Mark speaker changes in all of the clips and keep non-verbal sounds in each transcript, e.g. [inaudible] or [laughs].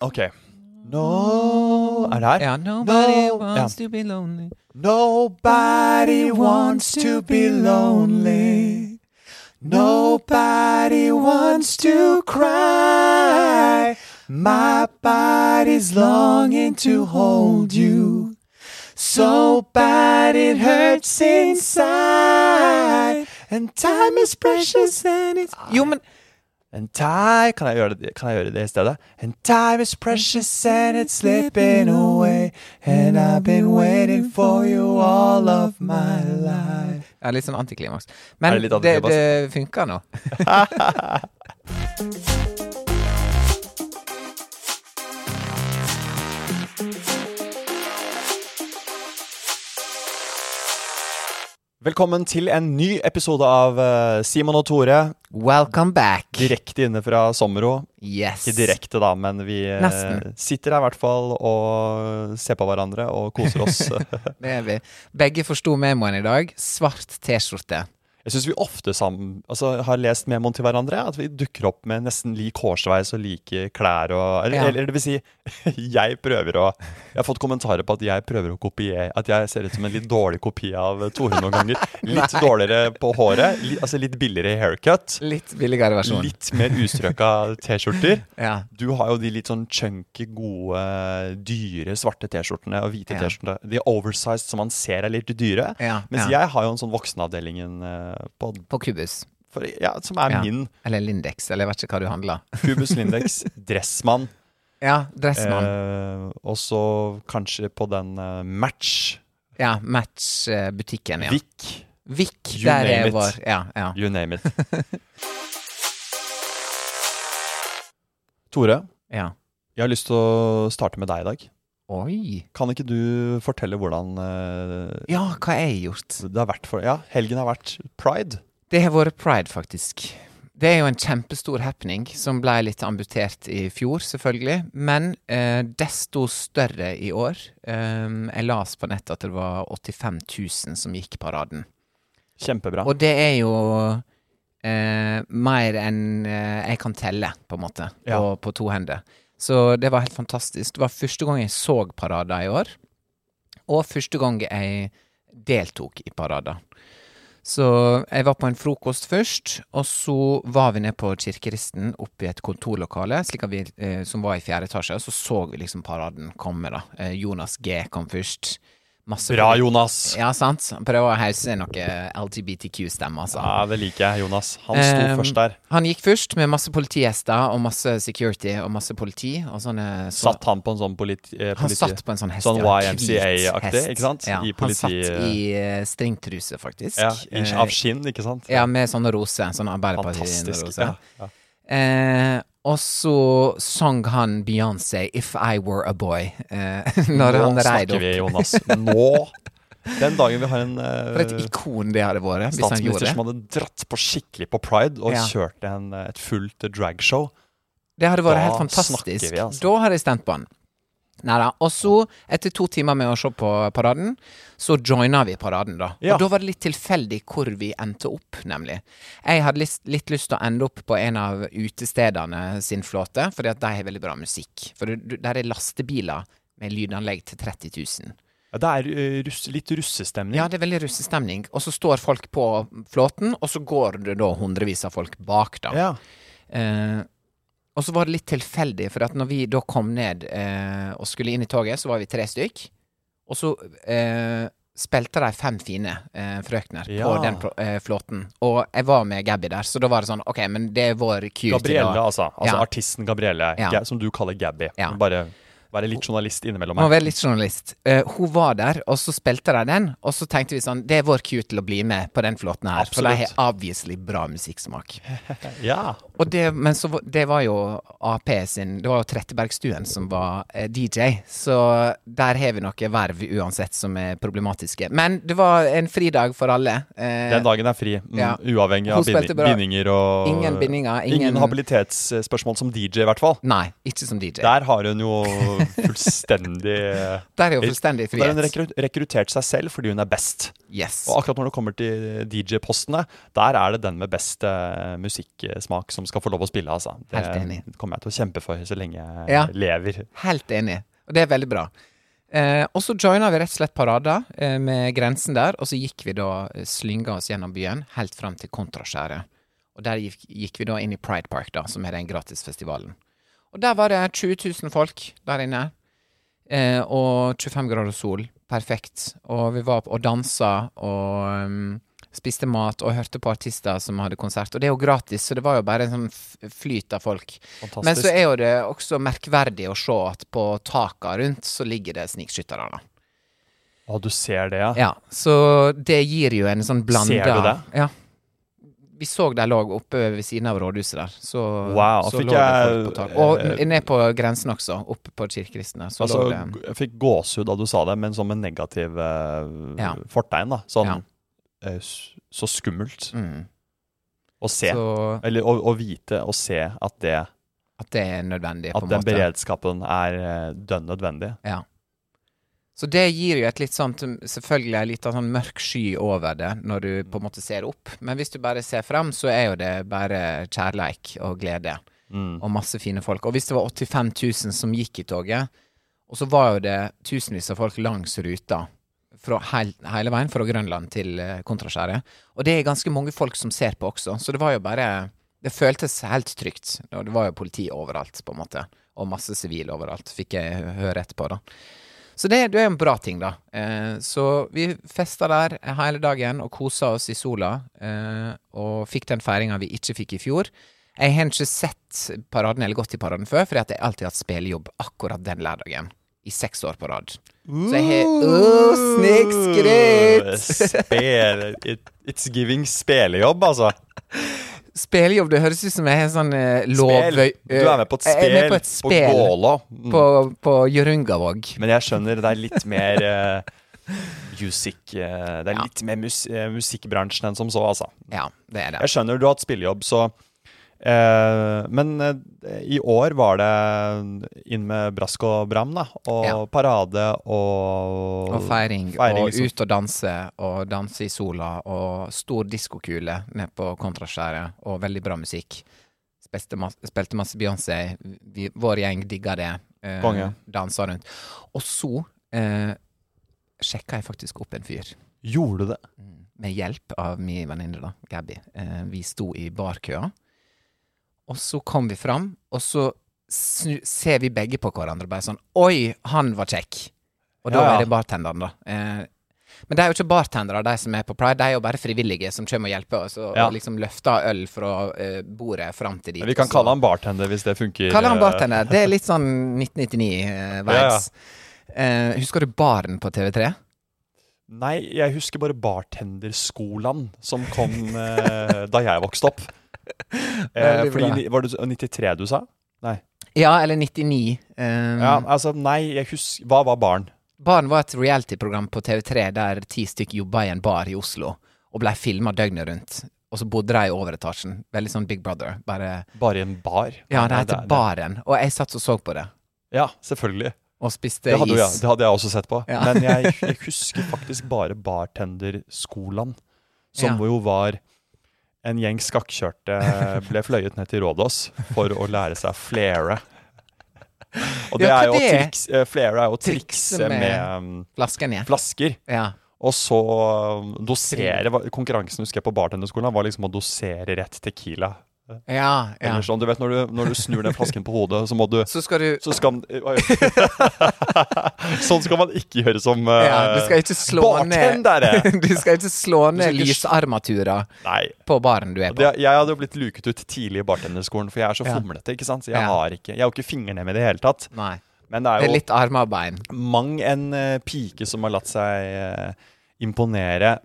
Speaker 1: OK. No Er det her?
Speaker 2: Ja, nobody
Speaker 1: No.
Speaker 2: wants
Speaker 1: Ja.
Speaker 2: to be lonely.
Speaker 1: Nobody wants to be lonely. Nobody wants to cry. My body's longing to hold you. So bad it hurts inside. And time is precious and it's
Speaker 2: Jo, men
Speaker 1: And time Kan jeg gjøre det, kan jeg gjøre det i stedet? And time is precious and it's slipping away And I've been waiting for you all of my life
Speaker 2: ja, Litt sånn antiklimaks. Men
Speaker 1: Er det
Speaker 2: det,
Speaker 1: litt
Speaker 2: det,
Speaker 1: antiklimaks?
Speaker 2: funker nå.
Speaker 1: Velkommen til en ny episode av eh, Simon og Tore
Speaker 2: Welcome back.
Speaker 1: Direkte inne fra Sommero
Speaker 2: Yes.
Speaker 1: Ikke direkte da, men vi eh,
Speaker 2: Nesten.
Speaker 1: sitter her i hvert fall Og ser på hverandre og koser oss Jeg
Speaker 2: Det er vi. Begge forsto memoen i dag. Svart T-skjorte.
Speaker 1: synes vi ofte sammen altså, har lest memoen til hverandre At vi dukker opp med nesten lik hårsveis og like klær og, eller,
Speaker 2: Ja.
Speaker 1: eller det vil si [laughs] Jeg prøver å Jeg har fått kommentarer på at jeg prøver å kopiere At jeg ser ut som en litt dårlig kopi av Tore noen ganger
Speaker 2: [laughs]
Speaker 1: Litt dårligere på håret litt, Altså litt billigere haircut
Speaker 2: Litt billigere versjon.
Speaker 1: Litt mer ustrøka T-skjorter.
Speaker 2: [laughs] Ja.
Speaker 1: Du har jo de litt sånn chunky, gode, dyre svarte T-skjortene og hvite
Speaker 2: Ja.
Speaker 1: T-skjortene. De oversized som man ser er litt dyre.
Speaker 2: Ja,
Speaker 1: Mens
Speaker 2: ja.
Speaker 1: jeg har jo en sånn voksenavdelingen eh, på,
Speaker 2: På Kubus.
Speaker 1: for, ja, som er
Speaker 2: Ja.
Speaker 1: min.
Speaker 2: Eller Lindex, eller jeg vet ikke hva du handler.
Speaker 1: Kubus
Speaker 2: [laughs]
Speaker 1: Lindex, Dressmann.
Speaker 2: Ja, Dressmann.
Speaker 1: Eh, og så kanskje på den eh, Match,
Speaker 2: Ja, Match-butikken, ja.
Speaker 1: Vic,
Speaker 2: Vik,
Speaker 1: You
Speaker 2: der
Speaker 1: name
Speaker 2: er
Speaker 1: it.
Speaker 2: vår Ja, ja.
Speaker 1: you name
Speaker 2: [laughs]
Speaker 1: it. Tore,
Speaker 2: ja.
Speaker 1: jeg har lyst til å starte med deg i dag.
Speaker 2: Oi.
Speaker 1: Kan ikke du fortelle hvordan eh,
Speaker 2: Ja, hva har jeg gjort?
Speaker 1: det har vært for Ja, helgen har vært pride.
Speaker 2: Det har vært pride, faktisk. Det er jo en kjempestor happening, som ble litt amputert i fjor, selvfølgelig. Men eh, desto større i år. Um, jeg las på nettet at det var 85 000 som gikk paraden.
Speaker 1: Kjempebra.
Speaker 2: Og det er jo eh, mer enn eh, jeg kan telle, på en måte, på,
Speaker 1: Ja.
Speaker 2: på to hender. Så det var helt fantastisk. Det var første gang jeg så parader i år, og første gang jeg deltok i parader. Så jeg var på en frokost først, og så var vi nede på Kirkeristen oppe i et kontorlokale slik at vi, eh, som var i fjerde etasje, og så så vi liksom paraden komme, da. Eh, Jonas G kom først. Masse
Speaker 1: Bra, Jonas! Ja.
Speaker 2: ja, sant. Prøve å hause noe LGBTQ-stemme, altså.
Speaker 1: det liker jeg, Jonas. Han sto
Speaker 2: Ehm,
Speaker 1: først der.
Speaker 2: Han gikk først med masse politihester og masse security og masse politi og sånne så-
Speaker 1: Satt han på en sånn politi... eh,
Speaker 2: Han
Speaker 1: politi-
Speaker 2: satt på en sånn hest,
Speaker 1: Sånn
Speaker 2: ja,
Speaker 1: YMCA-aktig,
Speaker 2: hvit hest.
Speaker 1: ikke sant?
Speaker 2: Ja,
Speaker 1: I
Speaker 2: han
Speaker 1: politi...
Speaker 2: satt i eh, stringtruse, faktisk.
Speaker 1: ja, i,
Speaker 2: Eh,
Speaker 1: av skinn, ikke sant?
Speaker 2: ja, med sånne roser. Sånn
Speaker 1: Fantastisk.
Speaker 2: Arbeiderparti-rose.
Speaker 1: Ja, ja.
Speaker 2: Eh, og så sang han Beyoncé 'If I Were A Boy' eh, [laughs] når
Speaker 1: Nå
Speaker 2: han reide
Speaker 1: snakker vi,
Speaker 2: opp.
Speaker 1: Jonas. Nå! Den dagen vi har en eh,
Speaker 2: For et ikon det hadde vært. Hvis han gjorde
Speaker 1: statsminister
Speaker 2: det.
Speaker 1: som hadde dratt på skikkelig på pride og
Speaker 2: Ja.
Speaker 1: kjørt en, eh, et fullt dragshow.
Speaker 2: Det hadde vært
Speaker 1: Da
Speaker 2: helt fantastisk.
Speaker 1: snakker vi, altså.
Speaker 2: Da hadde jeg stemt på han. Nei da. Og så, etter to timer med å se på paraden, så joina vi paraden, da.
Speaker 1: Ja.
Speaker 2: Og da var det litt tilfeldig hvor vi endte opp, nemlig. Jeg hadde litt, litt lyst til å ende opp på en av utestedene sin flåte, fordi at de har veldig bra musikk. For du- du- der er lastebiler med lydanlegg til 30 000.
Speaker 1: Ja, Det er eh, russ, litt russestemning.
Speaker 2: Ja, det er veldig russestemning. Og så står folk på flåten, og så går det da hundrevis av folk bak, da.
Speaker 1: Ja.
Speaker 2: Eh, og så var det litt tilfeldig, for at når vi da kom ned eh, og skulle inn i toget, så var vi tre stykk. Og så eh, spilte de Fem fine eh, frøkner på
Speaker 1: Ja.
Speaker 2: den pro- eh, flåten. Og jeg var med Gabby der, så da var det sånn OK, men det er vår cue til
Speaker 1: Gabrielle,
Speaker 2: å
Speaker 1: altså. altså
Speaker 2: Ja.
Speaker 1: Artisten Gabrielle,
Speaker 2: Ja.
Speaker 1: Ga- som du kaller Gabby.
Speaker 2: Ja.
Speaker 1: Bare Være litt journalist innimellom her.
Speaker 2: Må være litt journalist. Eh, hun var der, og så spilte de den. Og så tenkte vi sånn Det er vår cue til å bli med på den flåten her. For de
Speaker 1: Absolutt.
Speaker 2: har obviously bra musikksmak.
Speaker 1: Ja.
Speaker 2: Og det, men så, var- det var jo AP sin Det var jo Trettebergstuen som var eh, DJ, så der har vi noe verv uansett som er problematiske. Men det var en fridag for alle. Eh,
Speaker 1: Den dagen er fri, mm,
Speaker 2: ja.
Speaker 1: uavhengig
Speaker 2: Hun
Speaker 1: av
Speaker 2: spilte
Speaker 1: binding,
Speaker 2: bra.
Speaker 1: bindinger og
Speaker 2: Ingen bindinger, ingen-
Speaker 1: ingen habilitetsspørsmål som DJ, i hvert fall.
Speaker 2: Nei, ikke som DJ.
Speaker 1: Der har hun jo fullstendig
Speaker 2: [laughs] Der er jo fullstendig
Speaker 1: Der har hun
Speaker 2: frihet.
Speaker 1: rekru- rekruttert seg selv fordi hun er best.
Speaker 2: Yes.
Speaker 1: Og akkurat når det kommer til DJ-postene, der er det den med best eh, musikksmak som skal få lov å spille, altså. Det
Speaker 2: Helt enig.
Speaker 1: kommer jeg til å kjempe for så lenge jeg
Speaker 2: Ja.
Speaker 1: lever.
Speaker 2: Helt enig, og det er veldig bra. Eh, og så joina vi rett og slett parader eh, med grensen der, og så gikk vi da eh, slynga oss gjennom byen helt fram til Kontraskjæret. Og der gikk, gikk vi da inn i Pride Park, da, som er den gratisfestivalen. Og der var det 20 000 folk der inne, eh, og 25 grader sol. Perfekt. Og vi var opp og dansa og um, spiste mat og hørte på artister som hadde konsert. Og det er jo gratis, så det var jo bare en sånn f- flyt av folk.
Speaker 1: Fantastisk.
Speaker 2: Men så er jo det også merkverdig å se at på taka rundt så ligger det snikskyttere, da.
Speaker 1: Å, du ser det, ja.
Speaker 2: Ja, så det gir jo en sånn blanda
Speaker 1: Ser du det?
Speaker 2: Ja. Vi så de lå oppe ved siden av rådhuset der. Så,
Speaker 1: Wow,
Speaker 2: så
Speaker 1: fikk
Speaker 2: lå det folk
Speaker 1: jeg- eh,
Speaker 2: på tak. Og n- ned på grensen også, oppe på kirkeristen der. Så
Speaker 1: Altså,
Speaker 2: lå det
Speaker 1: g- jeg fikk gåsehud da du sa det, men som en negativ eh,
Speaker 2: Ja.
Speaker 1: fortegn. da. Sånn
Speaker 2: Ja.
Speaker 1: eh, s- Så skummelt
Speaker 2: mm,
Speaker 1: å se.
Speaker 2: Så
Speaker 1: Eller å, å vite og se at, det,
Speaker 2: at det er nødvendig,
Speaker 1: at
Speaker 2: på en
Speaker 1: den
Speaker 2: måte.
Speaker 1: beredskapen er eh, dønn nødvendig.
Speaker 2: Ja. Så det gir jo et litt sånt Selvfølgelig en liten sånn mørk sky over det når du på en måte ser opp, men hvis du bare ser frem, så er jo det bare kjærleik og glede
Speaker 1: Mm.
Speaker 2: og masse fine folk. Og hvis det var 85 000 som gikk i toget, og så var jo det tusenvis av folk langs ruta fra heil, hele veien fra Grønland til eh, Kontraskjæret, og det er ganske mange folk som ser på også, så det var jo bare Det føltes helt trygt, og det var jo politi overalt, på en måte, og masse sivile overalt, fikk jeg høre etterpå, da. Så det, det er en bra ting, da. Eh, så vi festa der hele dagen og kosa oss i sola. Eh, og fikk den feiringa vi ikke fikk i fjor. Jeg har ikke sett paraden eller gått i paraden før, fordi at jeg alltid har hatt spillejobb akkurat den lørdagen. I seks år på rad. Så jeg har uh, Snikskritt!
Speaker 1: Spel, it, it's giving spelejobb, altså.
Speaker 2: [laughs] Spillejobb, det høres ut som jeg har sånn eh, lov...
Speaker 1: Spel. Du er med på et spel.
Speaker 2: Jeg er med på et
Speaker 1: På
Speaker 2: spel
Speaker 1: Gålå. Mm.
Speaker 2: på, på Hjørungavåg.
Speaker 1: Men jeg skjønner det er litt mer eh, music, eh, Det er
Speaker 2: Ja.
Speaker 1: litt mer mus, eh, musikkbransjen enn som så, altså.
Speaker 2: Ja, det er det.
Speaker 1: Jeg skjønner du har hatt spillejobb, så eh, Men eh, i år var det inn med brask og bram, da. Og
Speaker 2: Ja.
Speaker 1: parade og
Speaker 2: Og feiring,
Speaker 1: feiring,
Speaker 2: og
Speaker 1: liksom.
Speaker 2: ut og danse, og danse i sola, og stor diskokule nede på Kontraskjæret, og veldig bra musikk. Spilte masse, spilte masse Beyoncé, vi, vår gjeng digga det. Eh,
Speaker 1: Konge.
Speaker 2: Dansa rundt. Og så eh, sjekka jeg faktisk opp en fyr,
Speaker 1: Gjorde du det?
Speaker 2: med hjelp av min venninne, da, Gabby. Eh, vi sto i barkøa, og så kom vi fram, og så snu, ser vi begge på hverandre og bare sånn Oi, han var kjekk! Og da
Speaker 1: Ja, ja.
Speaker 2: er det bartenderen, da. Eh, men det er jo ikke bartendere, de som er på Pride. De er jo bare frivillige som kommer og hjelper oss og,
Speaker 1: Ja.
Speaker 2: og liksom løfter øl fra eh, bordet fram til dit.
Speaker 1: Vi kan
Speaker 2: og så-
Speaker 1: kalle han bartender hvis det funker.
Speaker 2: Kaller han
Speaker 1: eh,
Speaker 2: bartender. Det er litt sånn 1999-vibes. Eh, husker du Baren på TV3?
Speaker 1: Nei, jeg husker bare Bartenderskolan som kom eh, da jeg vokste
Speaker 2: [laughs]
Speaker 1: opp. Eh,
Speaker 2: Veldig bra.
Speaker 1: fordi, var det 93 du sa? Nei.
Speaker 2: Ja, eller 99. eh,
Speaker 1: Ja, altså, nei, jeg husker Hva var barn?
Speaker 2: Baren var et reality-program på TV3 der ti stykk jobba i en bar i Oslo og blei filma døgnet rundt. Og så bodde de i overetasjen. Veldig sånn Big Brother. Bare
Speaker 1: Bare en bar?
Speaker 2: Ja, det
Speaker 1: Nei,
Speaker 2: heter
Speaker 1: er-
Speaker 2: Baren. Og jeg satt og så på det.
Speaker 1: Ja, selvfølgelig.
Speaker 2: Og spiste
Speaker 1: Det hadde, jo jeg,
Speaker 2: is.
Speaker 1: det hadde jeg også sett på.
Speaker 2: Ja.
Speaker 1: Men jeg,
Speaker 2: [laughs]
Speaker 1: jeg husker faktisk bare bartenderskolan, som
Speaker 2: Ja.
Speaker 1: jo var en gjeng skakkjørte
Speaker 2: [laughs]
Speaker 1: ble fløyet ned til Rådås for å lære seg flere. Og det
Speaker 2: Ja, hva
Speaker 1: er jo å
Speaker 2: det er?
Speaker 1: triks- eh, flere er jo å
Speaker 2: Trikse
Speaker 1: trikse med,
Speaker 2: med-
Speaker 1: mm,
Speaker 2: Flasken ned.
Speaker 1: flasker.
Speaker 2: Ja.
Speaker 1: Og så mm, dosere hva- Konkurransen husker jeg på bartenderskolen var liksom å dosere rett Tequila.
Speaker 2: ja, ja.
Speaker 1: Eller sånn, du vet, når du, når du snur den flasken på hodet, så må du
Speaker 2: Så skal du
Speaker 1: så skal
Speaker 2: [laughs]
Speaker 1: man Sånn skal man ikke gjøre som eh,
Speaker 2: Ja, du skal ikke slå
Speaker 1: bartendere.
Speaker 2: ned [laughs] Du skal ikke
Speaker 1: [laughs]
Speaker 2: slå ned
Speaker 1: ikke s-
Speaker 2: lysarmaturer
Speaker 1: Nei.
Speaker 2: på baren du er
Speaker 1: Det,
Speaker 2: på.
Speaker 1: jeg hadde jo blitt luket ut tidlig i bartenderskolen, for jeg er så
Speaker 2: Ja.
Speaker 1: fomlete. ikke sant? Så jeg
Speaker 2: Ja.
Speaker 1: har ikke, jeg har jo ikke fingrene med det i det hele tatt.
Speaker 2: Nei.
Speaker 1: Men det er
Speaker 2: Det
Speaker 1: jo
Speaker 2: er litt armer og bein.
Speaker 1: mang en eh, pike som har latt seg eh, imponere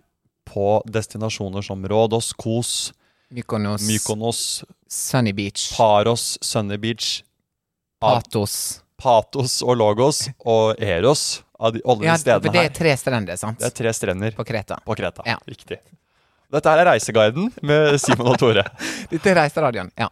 Speaker 1: på destinasjoner som Rådos, Kos,
Speaker 2: Mykonos,
Speaker 1: Mykonos,
Speaker 2: Sunny Beach,
Speaker 1: Paros, Sunny Beach,
Speaker 2: Patos
Speaker 1: Patos og Logos og Eros. Av de, alle
Speaker 2: Ja,
Speaker 1: de stedene
Speaker 2: for det er
Speaker 1: her.
Speaker 2: tre strender, sant?
Speaker 1: Det er tre strender
Speaker 2: På Kreta.
Speaker 1: på Kreta.
Speaker 2: Ja.
Speaker 1: Riktig. Dette her er Reiseguiden med Simon og Tore.
Speaker 2: Dette er reiseradioen. Ja.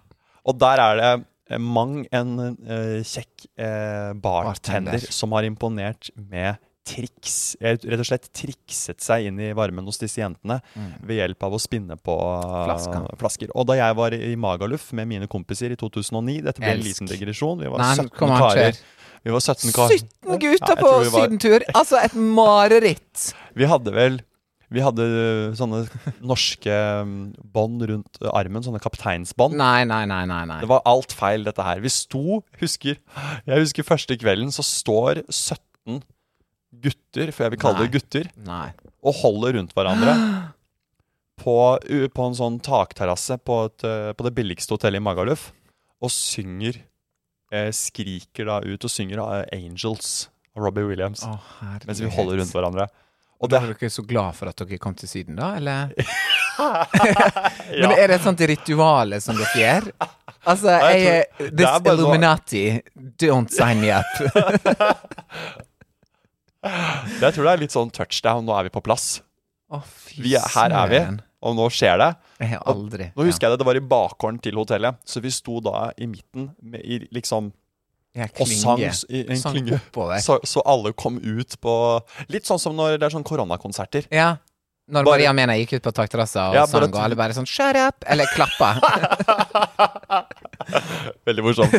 Speaker 1: Og der er det eh, mang en eh, kjekk eh, bartender,
Speaker 2: Bartender.
Speaker 1: som har imponert med triks. Eh, Rett og slett trikset seg inn i varmen hos disse jentene
Speaker 2: Mm.
Speaker 1: ved hjelp av å spinne på eh,
Speaker 2: Flaska.
Speaker 1: flasker. Og da jeg var i Magaluf med mine kompiser i 2009 Dette ble en
Speaker 2: Elsk.
Speaker 1: liten digresjon. Vi var
Speaker 2: Nei,
Speaker 1: 17
Speaker 2: kom an, kjør.
Speaker 1: karer. Vi var 17 karer.
Speaker 2: 17
Speaker 1: Ja,
Speaker 2: gutter
Speaker 1: jeg
Speaker 2: på
Speaker 1: tror vi var-
Speaker 2: sydentur! Altså, et mareritt!
Speaker 1: Vi hadde vel vi hadde eh, sånne norske mm, bånd rundt eh, armen, sånne kapteinsbånd.
Speaker 2: Nei, nei, nei, nei. nei.
Speaker 1: Det var alt feil, dette her. Vi sto, husker Jeg husker første kvelden, så står 17 gutter, for jeg vil kalle det
Speaker 2: Nei.
Speaker 1: gutter,
Speaker 2: Nei.
Speaker 1: og holder rundt
Speaker 2: [gasps]
Speaker 1: hverandre. På, u- på en sånn takterrasse på, et, eh, på det billigste hotellet i Magaluf. Og synger eh, Skriker da ut og synger eh, 'Angels' av Robbie Williams.
Speaker 2: Å,
Speaker 1: mens vi holder rundt hverandre. Og
Speaker 2: det.
Speaker 1: det,
Speaker 2: Er dere så glad for at dere kom til Syden, da? Eller?
Speaker 1: [laughs] ja,
Speaker 2: Men er det et sånt ritual som dere gjør? Altså,
Speaker 1: Nei,
Speaker 2: jeg,
Speaker 1: jeg tror- det
Speaker 2: This
Speaker 1: er bare noe-
Speaker 2: Illuminati, don't sign
Speaker 1: [laughs]
Speaker 2: me up.
Speaker 1: det, jeg tror det er litt sånn touchdown. Nå er vi på plass.
Speaker 2: Å, fy
Speaker 1: Vi er, her er vi,
Speaker 2: søren.
Speaker 1: og nå skjer det.
Speaker 2: Jeg har aldri
Speaker 1: Nå husker jeg det, det var i bakgården til hotellet, så vi sto da i midten med, i, liksom,
Speaker 2: jeg,
Speaker 1: og sang s- i en
Speaker 2: Sang
Speaker 1: klynge.
Speaker 2: oppover.
Speaker 1: Så, så alle kom ut på Litt sånn som når det er sånn koronakonserter.
Speaker 2: Ja. Når
Speaker 1: Bare-
Speaker 2: Maria Mena gikk ut på takterrassa og
Speaker 1: Ja,
Speaker 2: sang,
Speaker 1: bare
Speaker 2: og
Speaker 1: at-
Speaker 2: alle bare sånn 'shut up', eller
Speaker 1: [laughs]
Speaker 2: klappa.
Speaker 1: Veldig
Speaker 2: [laughs]
Speaker 1: morsomt.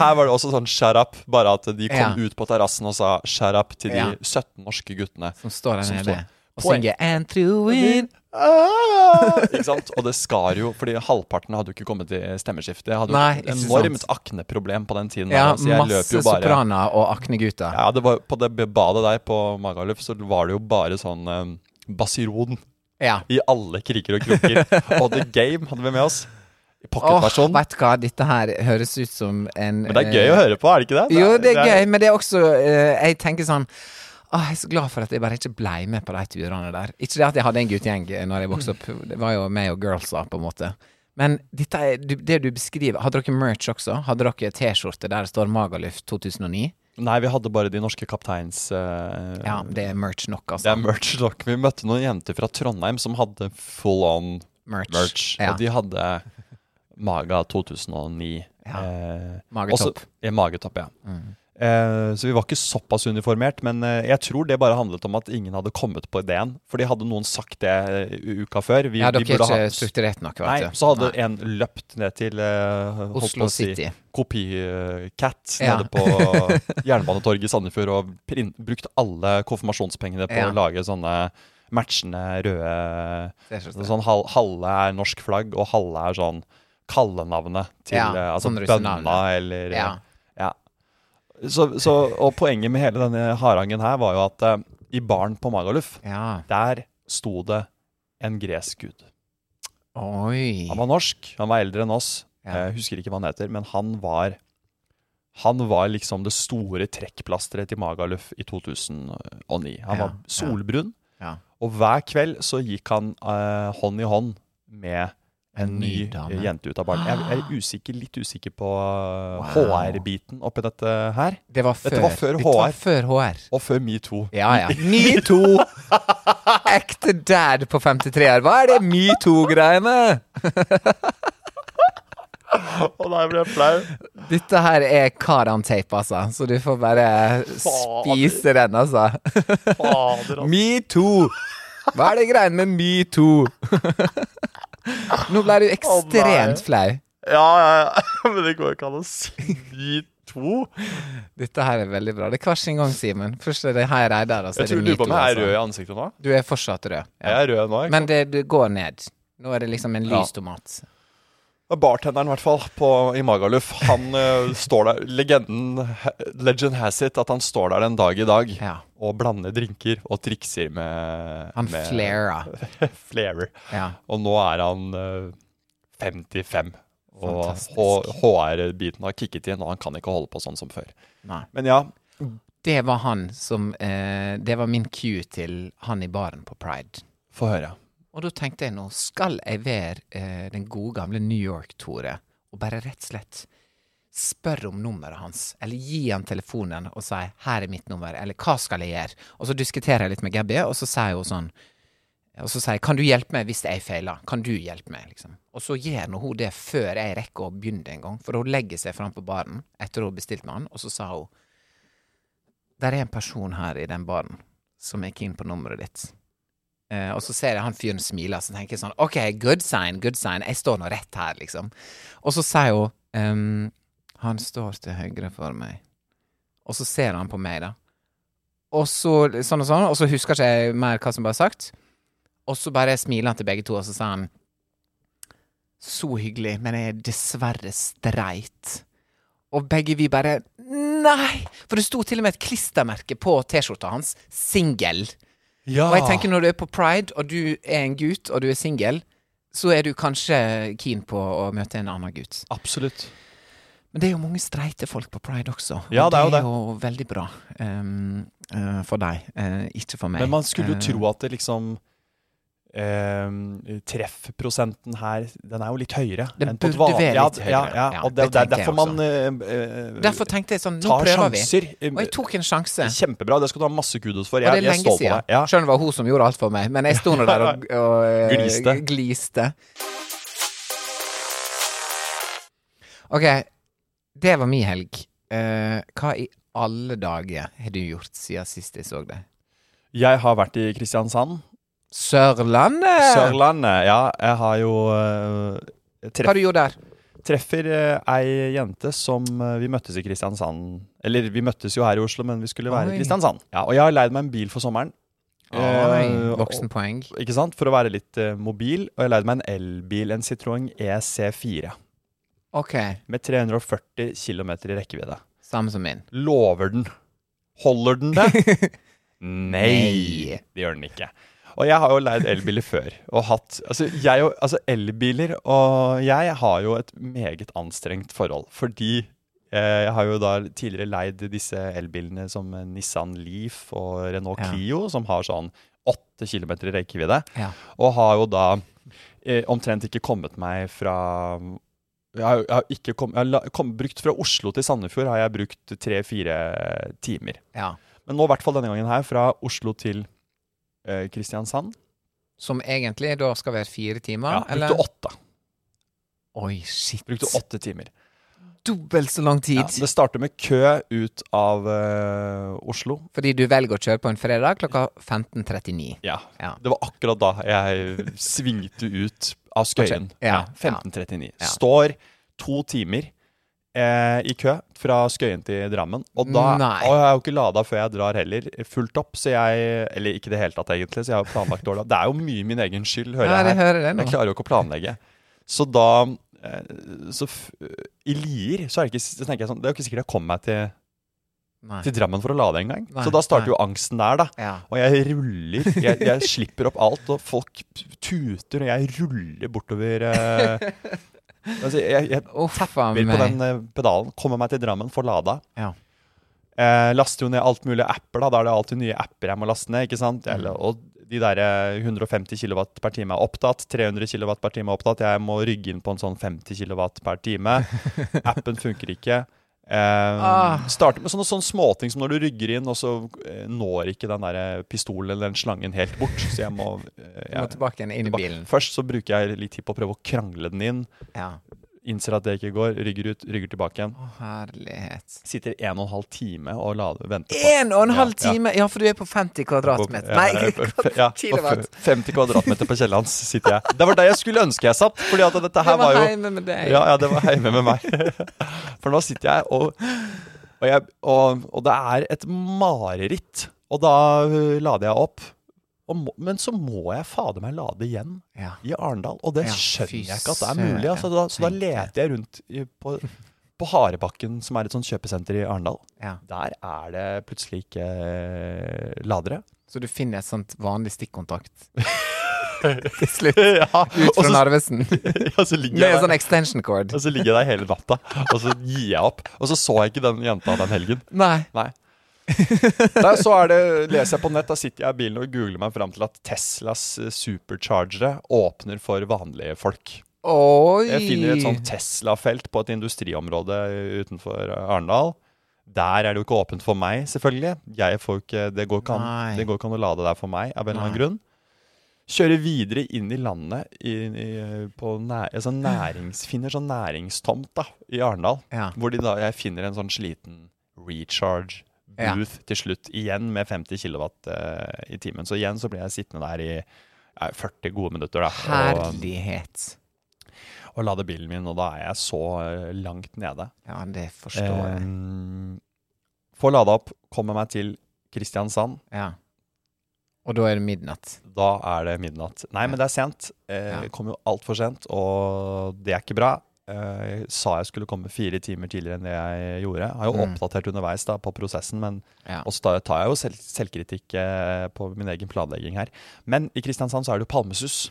Speaker 1: Her var det også sånn shut up, bare at de kom
Speaker 2: Ja.
Speaker 1: ut på terrassen og sa shut up til de
Speaker 2: Ja.
Speaker 1: 17 norske guttene.
Speaker 2: Som står der
Speaker 1: Som
Speaker 2: nede
Speaker 1: står-
Speaker 2: og
Speaker 1: Poeng.
Speaker 2: synger 'And through in'.
Speaker 1: Ah! Ikke sant? Og det skar jo, fordi halvparten hadde jo ikke kommet til stemmeskifte. Jeg hadde
Speaker 2: Nei,
Speaker 1: jo et
Speaker 2: ikke
Speaker 1: enormt akneproblem på den tiden. der, så
Speaker 2: Ja,
Speaker 1: altså, jeg løp
Speaker 2: masse
Speaker 1: jo bare
Speaker 2: sopraner og aknegutter.
Speaker 1: Ja, det var, på det badet der på Magaluf så var det jo bare sånn um, basiron
Speaker 2: Ja.
Speaker 1: i alle kriker og kroker.
Speaker 2: [laughs]
Speaker 1: og The Game hadde vi med oss. I
Speaker 2: Åh,
Speaker 1: pocketversjon.
Speaker 2: vet du hva, dette her høres ut som en
Speaker 1: men
Speaker 2: eh,
Speaker 1: det er gøy å høre på, er det ikke det?
Speaker 2: Jo, det er gøy, men det er også eh, Jeg tenker sånn Åh, jeg er så glad for at jeg bare ikke blei med på de turene der. Ikke det at jeg hadde en guttegjeng eh, Når jeg vokste opp. Det var jo meg og girlsa, på en måte. Men dette er, du- det du beskriver Hadde dere merch også? Hadde dere T-skjorte der det står Magaluf 2009?
Speaker 1: Nei, vi hadde bare de norske kapteins eh,
Speaker 2: Ja, det er merch nok,
Speaker 1: Det
Speaker 2: altså.
Speaker 1: er merch nok. Vi møtte noen jenter fra Trondheim som hadde full on
Speaker 2: Merch.
Speaker 1: merch.
Speaker 2: Ja.
Speaker 1: Og de hadde Maga 2009.
Speaker 2: Ja.
Speaker 1: eh,
Speaker 2: Magetopp. Mm.
Speaker 1: også- ja, magetopp, ja. Eh, så vi var ikke såpass uniformert, men eh, jeg tror det bare handlet om at ingen hadde kommet på ideen. Fordi hadde noen sagt det eh, u- uka før vi,
Speaker 2: Ja,
Speaker 1: vi
Speaker 2: dere er
Speaker 1: burde ha-
Speaker 2: ikke eh, strukturert nok, vet
Speaker 1: Nei,
Speaker 2: du.
Speaker 1: så hadde
Speaker 2: Nei.
Speaker 1: en løpt ned til eh, holdt
Speaker 2: Oslo
Speaker 1: på å si,
Speaker 2: City.
Speaker 1: Kopi-Cat
Speaker 2: Ja.
Speaker 1: nede
Speaker 2: [laughs]
Speaker 1: på Jernbanetorget i Sandefjord og print, brukt alle konfirmasjonspengene på
Speaker 2: Ja.
Speaker 1: å lage sånne matchende røde
Speaker 2: T-skjorte.
Speaker 1: Sånn hal, halve er norsk flagg, og halve er sånn kallenavnet til
Speaker 2: Ja,
Speaker 1: eh, altså
Speaker 2: sånn russenavn.
Speaker 1: bønna eller
Speaker 2: Ja.
Speaker 1: ja. Så, så, og poenget med hele denne harangen her var jo at eh, i baren på Magaluf,
Speaker 2: Ja.
Speaker 1: der sto det en gresk gud.
Speaker 2: Oi.
Speaker 1: Han var norsk, han var eldre enn oss. eh,
Speaker 2: Ja.
Speaker 1: Jeg husker ikke hva han heter, men han var han var liksom det store trekkplasteret til Magaluf i 2009. Han
Speaker 2: Ja,
Speaker 1: var solbrun,
Speaker 2: Ja.
Speaker 1: og hver kveld så gikk han eh, hånd i hånd med en,
Speaker 2: En
Speaker 1: ny eh,
Speaker 2: ny dame.
Speaker 1: jente ut av baren. Jeg, jeg er usikker, litt usikker på
Speaker 2: Wow.
Speaker 1: HR-biten oppi dette her.
Speaker 2: Det var før,
Speaker 1: Dette var før
Speaker 2: Dette var
Speaker 1: HR.
Speaker 2: før HR.
Speaker 1: Og før metoo. [laughs]
Speaker 2: Ja, ja. [laughs] Metoo! Ekte dad på 53-er. Hva er det metoo-greiene?
Speaker 1: Og da ble jeg flau.
Speaker 2: Dette her er karantape, altså. Så du får bare spise den, altså. [laughs]
Speaker 1: Fader,
Speaker 2: Metoo! Hva er det greiene med metoo? Nå ble du ekstremt flau.
Speaker 1: Ja, ja, ja. Men det går ikke an å si metoo.
Speaker 2: Dette her er veldig bra. Det er hver sin gang, Simen. Først er det her jeg er der, og så
Speaker 1: Jeg
Speaker 2: er det
Speaker 1: tror du på
Speaker 2: metoo.
Speaker 1: meg er rød
Speaker 2: Altså.
Speaker 1: i ansiktet nå.
Speaker 2: Du er fortsatt rød. Ja.
Speaker 1: Jeg er rød nå. ikke
Speaker 2: Men det, det går ned. Nå er det liksom en
Speaker 1: Ja.
Speaker 2: lys tomat.
Speaker 1: Ja, Bartenderen i hvert fall på, i Magaluf, han eh, står der Legenden Legend has it at han står der en dag i dag
Speaker 2: Ja.
Speaker 1: og blander drinker og trikser med
Speaker 2: Han
Speaker 1: med- [laughs]
Speaker 2: flairer.
Speaker 1: flairer.
Speaker 2: Ja.
Speaker 1: Og nå er han eh, 55 Og
Speaker 2: Fantastisk.
Speaker 1: HR-biten har kicket inn, og han kan ikke holde på sånn som før.
Speaker 2: Nei.
Speaker 1: Men ja,
Speaker 2: Det var han som eh, Det var min cue til han i baren på Pride.
Speaker 1: få høre.
Speaker 2: Og da tenkte jeg nå, skal jeg være eh, den gode gamle New York-Tore og bare rett og slett spørre om nummeret hans, eller gi han telefonen og si 'her er mitt nummer', eller 'hva skal jeg gjøre'? Og så diskuterer jeg litt med Gabby, og så sier hun sånn og så sier jeg 'kan du hjelpe meg hvis jeg feiler', kan du hjelpe meg? liksom. Og så gjør nå hun det før jeg rekker å begynne en gang, for hun legger seg fram på baren etter hun har bestilt med han, og så sa hun 'der er en person her i den baren som er keen på nummeret ditt'. Eh, og så ser jeg han fyren smiler, så tenker jeg sånn OK, good sign, good sign. Jeg står nå rett her, liksom. Og så sier hun ehm, Han står til høyre for meg. Og så ser han på meg, da. Og så sånn og sånn, og så husker ikke jeg mer hva som ble sagt. Og så bare smiler han til begge to, og så sa han Så hyggelig, men jeg er dessverre streit. Og begge vi bare Nei! For det sto til og med et klistermerke på T-skjorta hans. Singel.
Speaker 1: Ja.
Speaker 2: Og jeg tenker når du er på pride, og du er en gutt, og du er singel, så er du kanskje keen på å møte en annen gutt.
Speaker 1: Absolutt.
Speaker 2: Men det er jo mange streite folk på pride også, og
Speaker 1: Ja, det er jo det.
Speaker 2: jo veldig bra ehm, eh, for deg, eh, ikke for meg.
Speaker 1: Men man skulle jo
Speaker 2: Eh,
Speaker 1: tro at det liksom eh, treffprosenten her, den er jo litt høyere.
Speaker 2: Den
Speaker 1: enn på et
Speaker 2: burde
Speaker 1: vanlig-
Speaker 2: være
Speaker 1: ja,
Speaker 2: litt
Speaker 1: Ja,
Speaker 2: høyere.
Speaker 1: ja,
Speaker 2: Ja,
Speaker 1: og det,
Speaker 2: det
Speaker 1: det er
Speaker 2: tenker jeg
Speaker 1: derfor man eh, eh,
Speaker 2: Derfor tenkte jeg sånn, nå
Speaker 1: tar
Speaker 2: prøver
Speaker 1: sjanser. Eh,
Speaker 2: vi. Og jeg tok en sjanse.
Speaker 1: Kjempebra, det skal du ha masse kudos for.
Speaker 2: Og det
Speaker 1: Jeg,
Speaker 2: er
Speaker 1: jeg
Speaker 2: lenge
Speaker 1: står på
Speaker 2: siden.
Speaker 1: deg. Ja.
Speaker 2: Skjønner det var hun som gjorde alt for meg, men jeg sto nå der
Speaker 1: [laughs]
Speaker 2: og, og eh,
Speaker 1: Gliste.
Speaker 2: gliste. Ok, det var min helg. Eh, hva i alle dager har du gjort siden sist jeg så deg?
Speaker 1: Jeg har vært i Kristiansand.
Speaker 2: Sørlandet!
Speaker 1: Sørlandet. Ja, jeg har jo eh,
Speaker 2: Hva har du gjort der?
Speaker 1: treffer eh, ei jente som eh, vi møttes i Kristiansand. Eller vi møttes jo her i Oslo, men vi skulle være
Speaker 2: Oi.
Speaker 1: i Kristiansand. Ja, og jeg har leid meg en bil for sommeren.
Speaker 2: Oi,
Speaker 1: Eh,
Speaker 2: voksenpoeng.
Speaker 1: og- Ikke sant? For å være litt eh, mobil. Og jeg leide meg en elbil, en Citroën EC4.
Speaker 2: Ok,
Speaker 1: Med 340 km i rekkevidde.
Speaker 2: samme som min.
Speaker 1: Lover den? Holder den det?
Speaker 2: [laughs]
Speaker 1: Nei,
Speaker 2: Nei.
Speaker 1: det gjør den ikke. Og jeg har jo leid elbiler før. Og hatt, altså, jeg og, altså elbiler og jeg har jo et meget anstrengt forhold. Fordi eh, jeg har jo da tidligere leid disse elbilene som Nissan Leaf og Renault
Speaker 2: Ja.
Speaker 1: Clio, som har sånn 8 km i rekkevidde.
Speaker 2: Ja.
Speaker 1: Og har jo da eh, omtrent ikke kommet meg fra jeg har, jeg har ikke kom, jeg har la, kom, brukt Fra Oslo til Sandefjord har jeg brukt tre-fire timer.
Speaker 2: ja.
Speaker 1: Men nå i hvert fall denne gangen her, fra Oslo til eh, Kristiansand.
Speaker 2: Som egentlig da skal være fire
Speaker 1: Ja,
Speaker 2: timer, eller?
Speaker 1: brukte åtte.
Speaker 2: Oi, shit.
Speaker 1: Brukte åtte timer.
Speaker 2: Dobbelt så lang tid.
Speaker 1: Ja, det starter med kø ut av eh, Oslo.
Speaker 2: Fordi du velger å kjøre på en fredag klokka 15.39.
Speaker 1: Ja.
Speaker 2: Ja.
Speaker 1: Det var akkurat da jeg svingte ut av Skøyen.
Speaker 2: Kanskje- ja,
Speaker 1: 1539.
Speaker 2: ja.
Speaker 1: Står to timer eh, i kø fra Skøyen til Drammen. Og, da,
Speaker 2: Nei.
Speaker 1: og jeg er jo ikke lada før jeg drar heller. Fullt opp, så jeg Eller ikke i det hele tatt, egentlig, så jeg har jo planlagt dårlig. Det er jo mye min egen skyld, hører
Speaker 2: Ja,
Speaker 1: jeg
Speaker 2: jeg
Speaker 1: her.
Speaker 2: hører det nå.
Speaker 1: Jeg klarer jo ikke å planlegge. Så da eh, så f I Lier så, er det ikke, så tenker jeg sånn Det er jo ikke sikkert jeg kommer meg til,
Speaker 2: Nei.
Speaker 1: til Drammen for å lade engang.
Speaker 2: Nei,
Speaker 1: Så da starter
Speaker 2: nei.
Speaker 1: jo angsten der, da.
Speaker 2: Ja.
Speaker 1: Og jeg ruller. Jeg, jeg slipper opp alt, og folk tuter, og jeg ruller bortover eh, altså, Jeg, jeg
Speaker 2: Uff a
Speaker 1: vil på
Speaker 2: meg.
Speaker 1: den eh, pedalen, kommer meg til Drammen, får lada.
Speaker 2: Ja.
Speaker 1: Eh, laster jo ned alt mulig apper, da. Da er det alltid nye apper jeg må laste ned. ikke sant?
Speaker 2: Mm.
Speaker 1: Jeg, og de der eh, 150 kW per time er opptatt, 300 kW per time er opptatt. Jeg må rygge inn på en sånn 50 kW per time.
Speaker 2: [laughs]
Speaker 1: Appen funker ikke. Eh,
Speaker 2: Ah.
Speaker 1: Starter med sånne, sånne småting som når du rygger inn, og så eh, når ikke den der eh, pistolen eller den slangen helt bort. Så jeg må, eh,
Speaker 2: Du må
Speaker 1: jeg,
Speaker 2: tilbake igjen inn i bilen.
Speaker 1: Først så bruker jeg litt tid på å prøve å krangle den inn.
Speaker 2: Ja.
Speaker 1: Innser at det ikke går, rygger ut, rygger tilbake igjen.
Speaker 2: Å, herlighet.
Speaker 1: Sitter en og en halv time og lader, venter på
Speaker 2: En og en
Speaker 1: Ja,
Speaker 2: halv
Speaker 1: ja.
Speaker 2: time! Ja, for du er på 50 kvadratmeter.
Speaker 1: Ja,
Speaker 2: [laughs] Nei,
Speaker 1: ja, ja, på
Speaker 2: kilowatt.
Speaker 1: 50 kvadratmeter på kjelleren hans sitter jeg. Det var der jeg skulle ønske jeg satt, fordi at dette her
Speaker 2: Det
Speaker 1: var
Speaker 2: var
Speaker 1: jo
Speaker 2: hjemme med deg.
Speaker 1: Ja, ja, det var hjemme med meg. [laughs] For nå sitter jeg og Og, jeg, og, og det er et mareritt. Og da øh, lader jeg opp. Og må, men så må jeg fader meg lade igjen
Speaker 2: Ja.
Speaker 1: i Arendal, og det
Speaker 2: Ja,
Speaker 1: skjønner
Speaker 2: fy
Speaker 1: jeg ikke at det er
Speaker 2: søren,
Speaker 1: mulig. Altså, da, så da
Speaker 2: tenk det.
Speaker 1: leter jeg rundt i- på, på Harebakken, som er et sånt kjøpesenter i Arendal.
Speaker 2: Ja.
Speaker 1: Der er det plutselig ikke eh, ladere.
Speaker 2: Så du finner et sånt vanlig stikkontakt. til slutt.
Speaker 1: [laughs] ja,
Speaker 2: Ut
Speaker 1: og
Speaker 2: fra
Speaker 1: så-
Speaker 2: Narvesen.
Speaker 1: ja, så ligger
Speaker 2: Med
Speaker 1: jeg
Speaker 2: en
Speaker 1: der.
Speaker 2: sånn extension cord.
Speaker 1: Og så ligger jeg der hele natta, og så gir jeg opp. Og så så jeg ikke den jenta den helgen.
Speaker 2: Nei.
Speaker 1: Nei.
Speaker 2: [laughs]
Speaker 1: Nei, så er det, leser jeg på nett, da sitter jeg i bilen og googler meg fram til at Teslas eh, superchargere åpner for vanlige folk.
Speaker 2: Oi!
Speaker 1: Jeg finner et sånt Tesla-felt på et industriområde utenfor Arendal. Der er det jo ikke åpent for meg, selvfølgelig. Jeg får jo ikke, det, går ikke
Speaker 2: Nei.
Speaker 1: an, det går ikke an å lade der for meg, av en eller annen
Speaker 2: Nei.
Speaker 1: grunn. Kjøre videre inn i landet, i, i, på næ- en sånn nærings, finner sånn næringstomt da, i Arendal.
Speaker 2: Ja.
Speaker 1: Hvor de da, jeg finner en sånn sliten recharge
Speaker 2: Ja.
Speaker 1: booth til slutt, igjen med 50 kilowatt eh, i timen. Så igjen så blir jeg sittende der i ja, 40 gode minutter. Da, og-
Speaker 2: Herlighet.
Speaker 1: og lade bilen min, og da er jeg så eh, langt nede.
Speaker 2: Ja, det forstår jeg.
Speaker 1: Ehm, Får lada opp, kommer meg til Kristiansand.
Speaker 2: Ja. Og da er det midnatt.
Speaker 1: Da er det midnatt. Nei, men det er sent. Eh,
Speaker 2: Ja.
Speaker 1: Kom jo altfor sent, og det er ikke bra. Eh, Jeg sa jeg skulle komme fire timer tidligere enn det jeg gjorde. Jeg har jo
Speaker 2: Mm.
Speaker 1: oppdatert underveis da på prosessen, men
Speaker 2: Ja.
Speaker 1: også da tar jeg jo selv, selvkritikk eh, på min egen planlegging her. Men i Kristiansand så er det jo palmesus.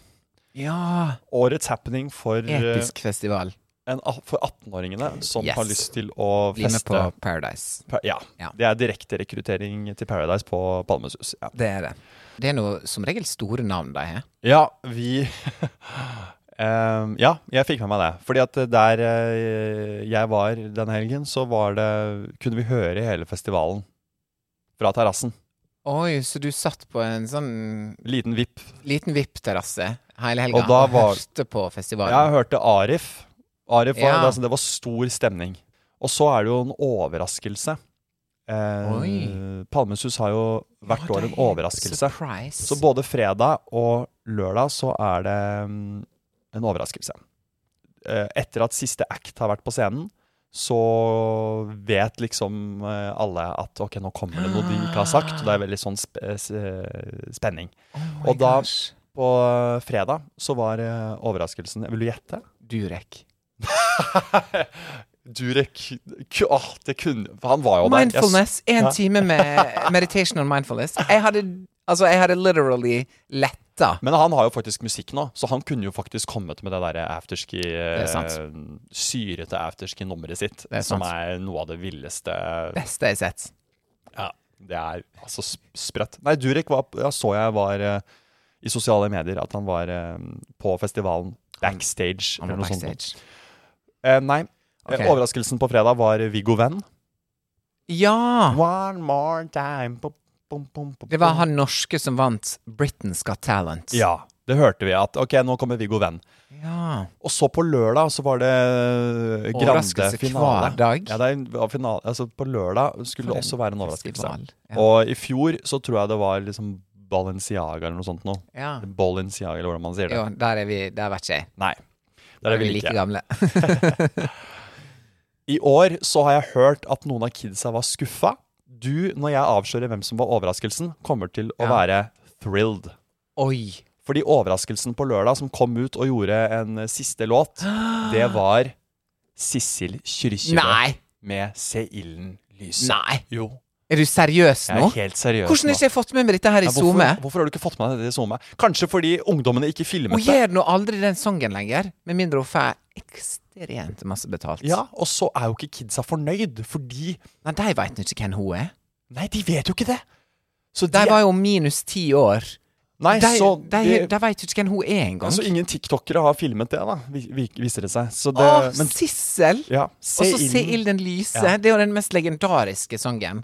Speaker 2: ja
Speaker 1: Årets happening for, eh,
Speaker 2: episk festival.
Speaker 1: en, a- for 18-åringene som
Speaker 2: Yes.
Speaker 1: har lyst til å
Speaker 2: Bli med
Speaker 1: feste.
Speaker 2: på Paradise.
Speaker 1: Pa- Ja.
Speaker 2: Ja.
Speaker 1: Det er direkterekruttering til Paradise på Palmesus. Ja,
Speaker 2: Det er det. Det er noe som regel store navn de har.
Speaker 1: ja
Speaker 2: [laughs]
Speaker 1: vi Ehm, Ja, jeg fikk med meg det. Fordi at der eh, jeg var denne helgen, så var det Kunne vi høre hele festivalen fra terrassen.
Speaker 2: Oi, så du satt på en sånn
Speaker 1: Liten vipp.
Speaker 2: liten VIP-terrasse hele helga
Speaker 1: Og
Speaker 2: og,
Speaker 1: da var-
Speaker 2: hørte på festivalen.
Speaker 1: Jeg hørte Arif. Arif var,
Speaker 2: Ja.
Speaker 1: det, altså, det var stor stemning. Og så er det jo en overraskelse. Eh,
Speaker 2: Oi.
Speaker 1: Palmesus har jo hvert
Speaker 2: Ja,
Speaker 1: år
Speaker 2: det
Speaker 1: en
Speaker 2: er
Speaker 1: overraskelse.
Speaker 2: Surprise.
Speaker 1: Så både fredag og lørdag så er det mm, en overraskelse. Eh, Etter at siste act har vært på scenen, så vet liksom eh, alle at ok, nå kommer det noe de ikke har sagt. Og det er veldig sånn sp eh, s- eh, spenning.
Speaker 2: Oh my
Speaker 1: og da-
Speaker 2: gosh.
Speaker 1: På eh, fredag så var eh, overraskelsen Vil du gjette?
Speaker 2: Durek.
Speaker 1: Durek K- åh, det kunne Han var jo der. Jeg s-
Speaker 2: Mindfulness. En
Speaker 1: Ja.
Speaker 2: time
Speaker 1: [laughs]
Speaker 2: med meditation on mindfulness. Jeg hadde, altså, jeg hadde literally letta.
Speaker 1: Men han har jo faktisk musikk nå, så han kunne jo faktisk kommet med det der afterski
Speaker 2: er sant.
Speaker 1: eh, Syrete afterski-nummeret sitt,
Speaker 2: Det er
Speaker 1: som
Speaker 2: sant.
Speaker 1: er noe av det villeste
Speaker 2: Beste jeg har sett.
Speaker 1: ja, Det er altså sp- sprøtt. Nei, Durek var, ja, så jeg var eh, i sosiale medier at han var eh, på festivalen backstage.
Speaker 2: Han var
Speaker 1: eller noe sånt.
Speaker 2: backstage.
Speaker 1: Eh, nei. eh,
Speaker 2: Ok.
Speaker 1: Overraskelsen på fredag var Viggo Venn.
Speaker 2: Ja!
Speaker 1: One more time Bum, bum, bum, bum,
Speaker 2: Det var
Speaker 1: bum.
Speaker 2: han norske som vant Britain's Got Talent.
Speaker 1: Ja, det hørte vi. At ok, nå kommer Viggo Venn.
Speaker 2: Ja.
Speaker 1: Og så på lørdag så var det
Speaker 2: Overraskelse
Speaker 1: grande finale.
Speaker 2: hver dag.
Speaker 1: Ja, det er en- var finale. Altså, på lørdag skulle det
Speaker 2: For en
Speaker 1: også være en overraskelse.
Speaker 2: festival, ja.
Speaker 1: Og i fjor så tror jeg det var liksom Balenciaga eller noe sånt noe.
Speaker 2: Ja.
Speaker 1: Balenciaga, eller hvordan man sier det.
Speaker 2: Jo, der er vi Der vet ikke jeg.
Speaker 1: Nei. Der
Speaker 2: Der
Speaker 1: er vi like. [laughs]
Speaker 2: like gamle.
Speaker 1: I år så har jeg hørt at noen av kidsa var skuffa. Du, når jeg avslører hvem som var overraskelsen, kommer til å
Speaker 2: Ja.
Speaker 1: være thrilled.
Speaker 2: Oi.
Speaker 1: Fordi overraskelsen på lørdag som kom ut og gjorde en eh, siste
Speaker 2: [gasps]
Speaker 1: låt, det var Sissel Kyrkjebø
Speaker 2: Nei!
Speaker 1: med Se ilden lyse.
Speaker 2: Nei!
Speaker 1: Jo,
Speaker 2: Er du seriøs
Speaker 1: jeg
Speaker 2: nå?
Speaker 1: er helt seriøs
Speaker 2: Hvordan har
Speaker 1: nå.
Speaker 2: ikke jeg fått med meg dette her i
Speaker 1: Ja,
Speaker 2: SoMe?
Speaker 1: hvorfor, hvorfor har du ikke fått med deg det i SoMe? Kanskje fordi ungdommene ikke filmet
Speaker 2: Hun
Speaker 1: det?
Speaker 2: gjør nå aldri den sangen lenger, med mindre hun får ekstremt masse betalt.
Speaker 1: Ja, og så er jo ikke kidsa fornøyd, fordi
Speaker 2: Nei, de veit nå ikke hvem hun er.
Speaker 1: Nei, de vet jo ikke det! Så
Speaker 2: De var jo minus ti år.
Speaker 1: Nei,
Speaker 2: de
Speaker 1: så
Speaker 2: de, de,
Speaker 1: det-
Speaker 2: veit jo ikke hvem hun er engang.
Speaker 1: Altså, ingen tiktokere har filmet det, da, vi- vi- viser det seg. Så det
Speaker 2: Å,
Speaker 1: men-
Speaker 2: Sissel!
Speaker 1: ja,
Speaker 2: Og så Se ilden lyse.
Speaker 1: Ja.
Speaker 2: Det er jo den mest legendariske sangen.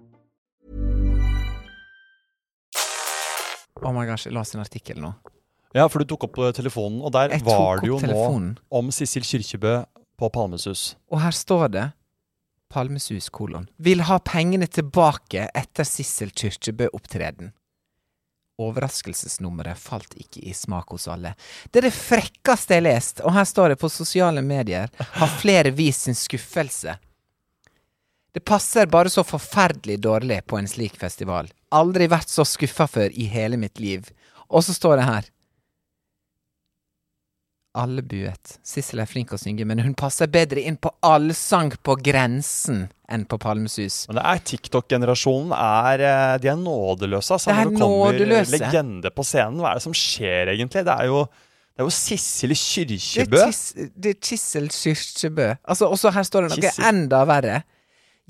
Speaker 2: Oh my gosh, jeg leste en artikkel nå.
Speaker 1: Ja, for du tok opp eh, telefonen, og der
Speaker 2: Jeg tok
Speaker 1: var
Speaker 2: opp
Speaker 1: det jo
Speaker 2: telefonen.
Speaker 1: nå om Sissel Kyrkjebø på Palmesus.
Speaker 2: Og her står det Palmesus kolon vil ha pengene tilbake etter Sissel Kyrkjebø-opptreden. Overraskelsesnummeret falt ikke i smak hos alle. Det er det frekkeste jeg har lest, og her står det på sosiale medier har flere vist sin skuffelse. Det passer bare så forferdelig dårlig på en slik festival. Aldri vært så skuffa før i hele mitt liv. Og så står det her Albuet. Sissel er flink å synge, men hun passer bedre inn på allsang på grensen enn på Palmesus.
Speaker 1: Men det er TikTok-generasjonen er eh, De er nådeløse, altså.
Speaker 2: Det er
Speaker 1: Når kommer
Speaker 2: nådeløse.
Speaker 1: legende på scenen, hva er det som skjer egentlig? Det er jo, det er jo Sissel
Speaker 2: Det
Speaker 1: Kyrkjebø.
Speaker 2: er Tis- det er Kissel Kyrkjebø. Altså, og så her står det noe
Speaker 1: Kissel.
Speaker 2: enda verre.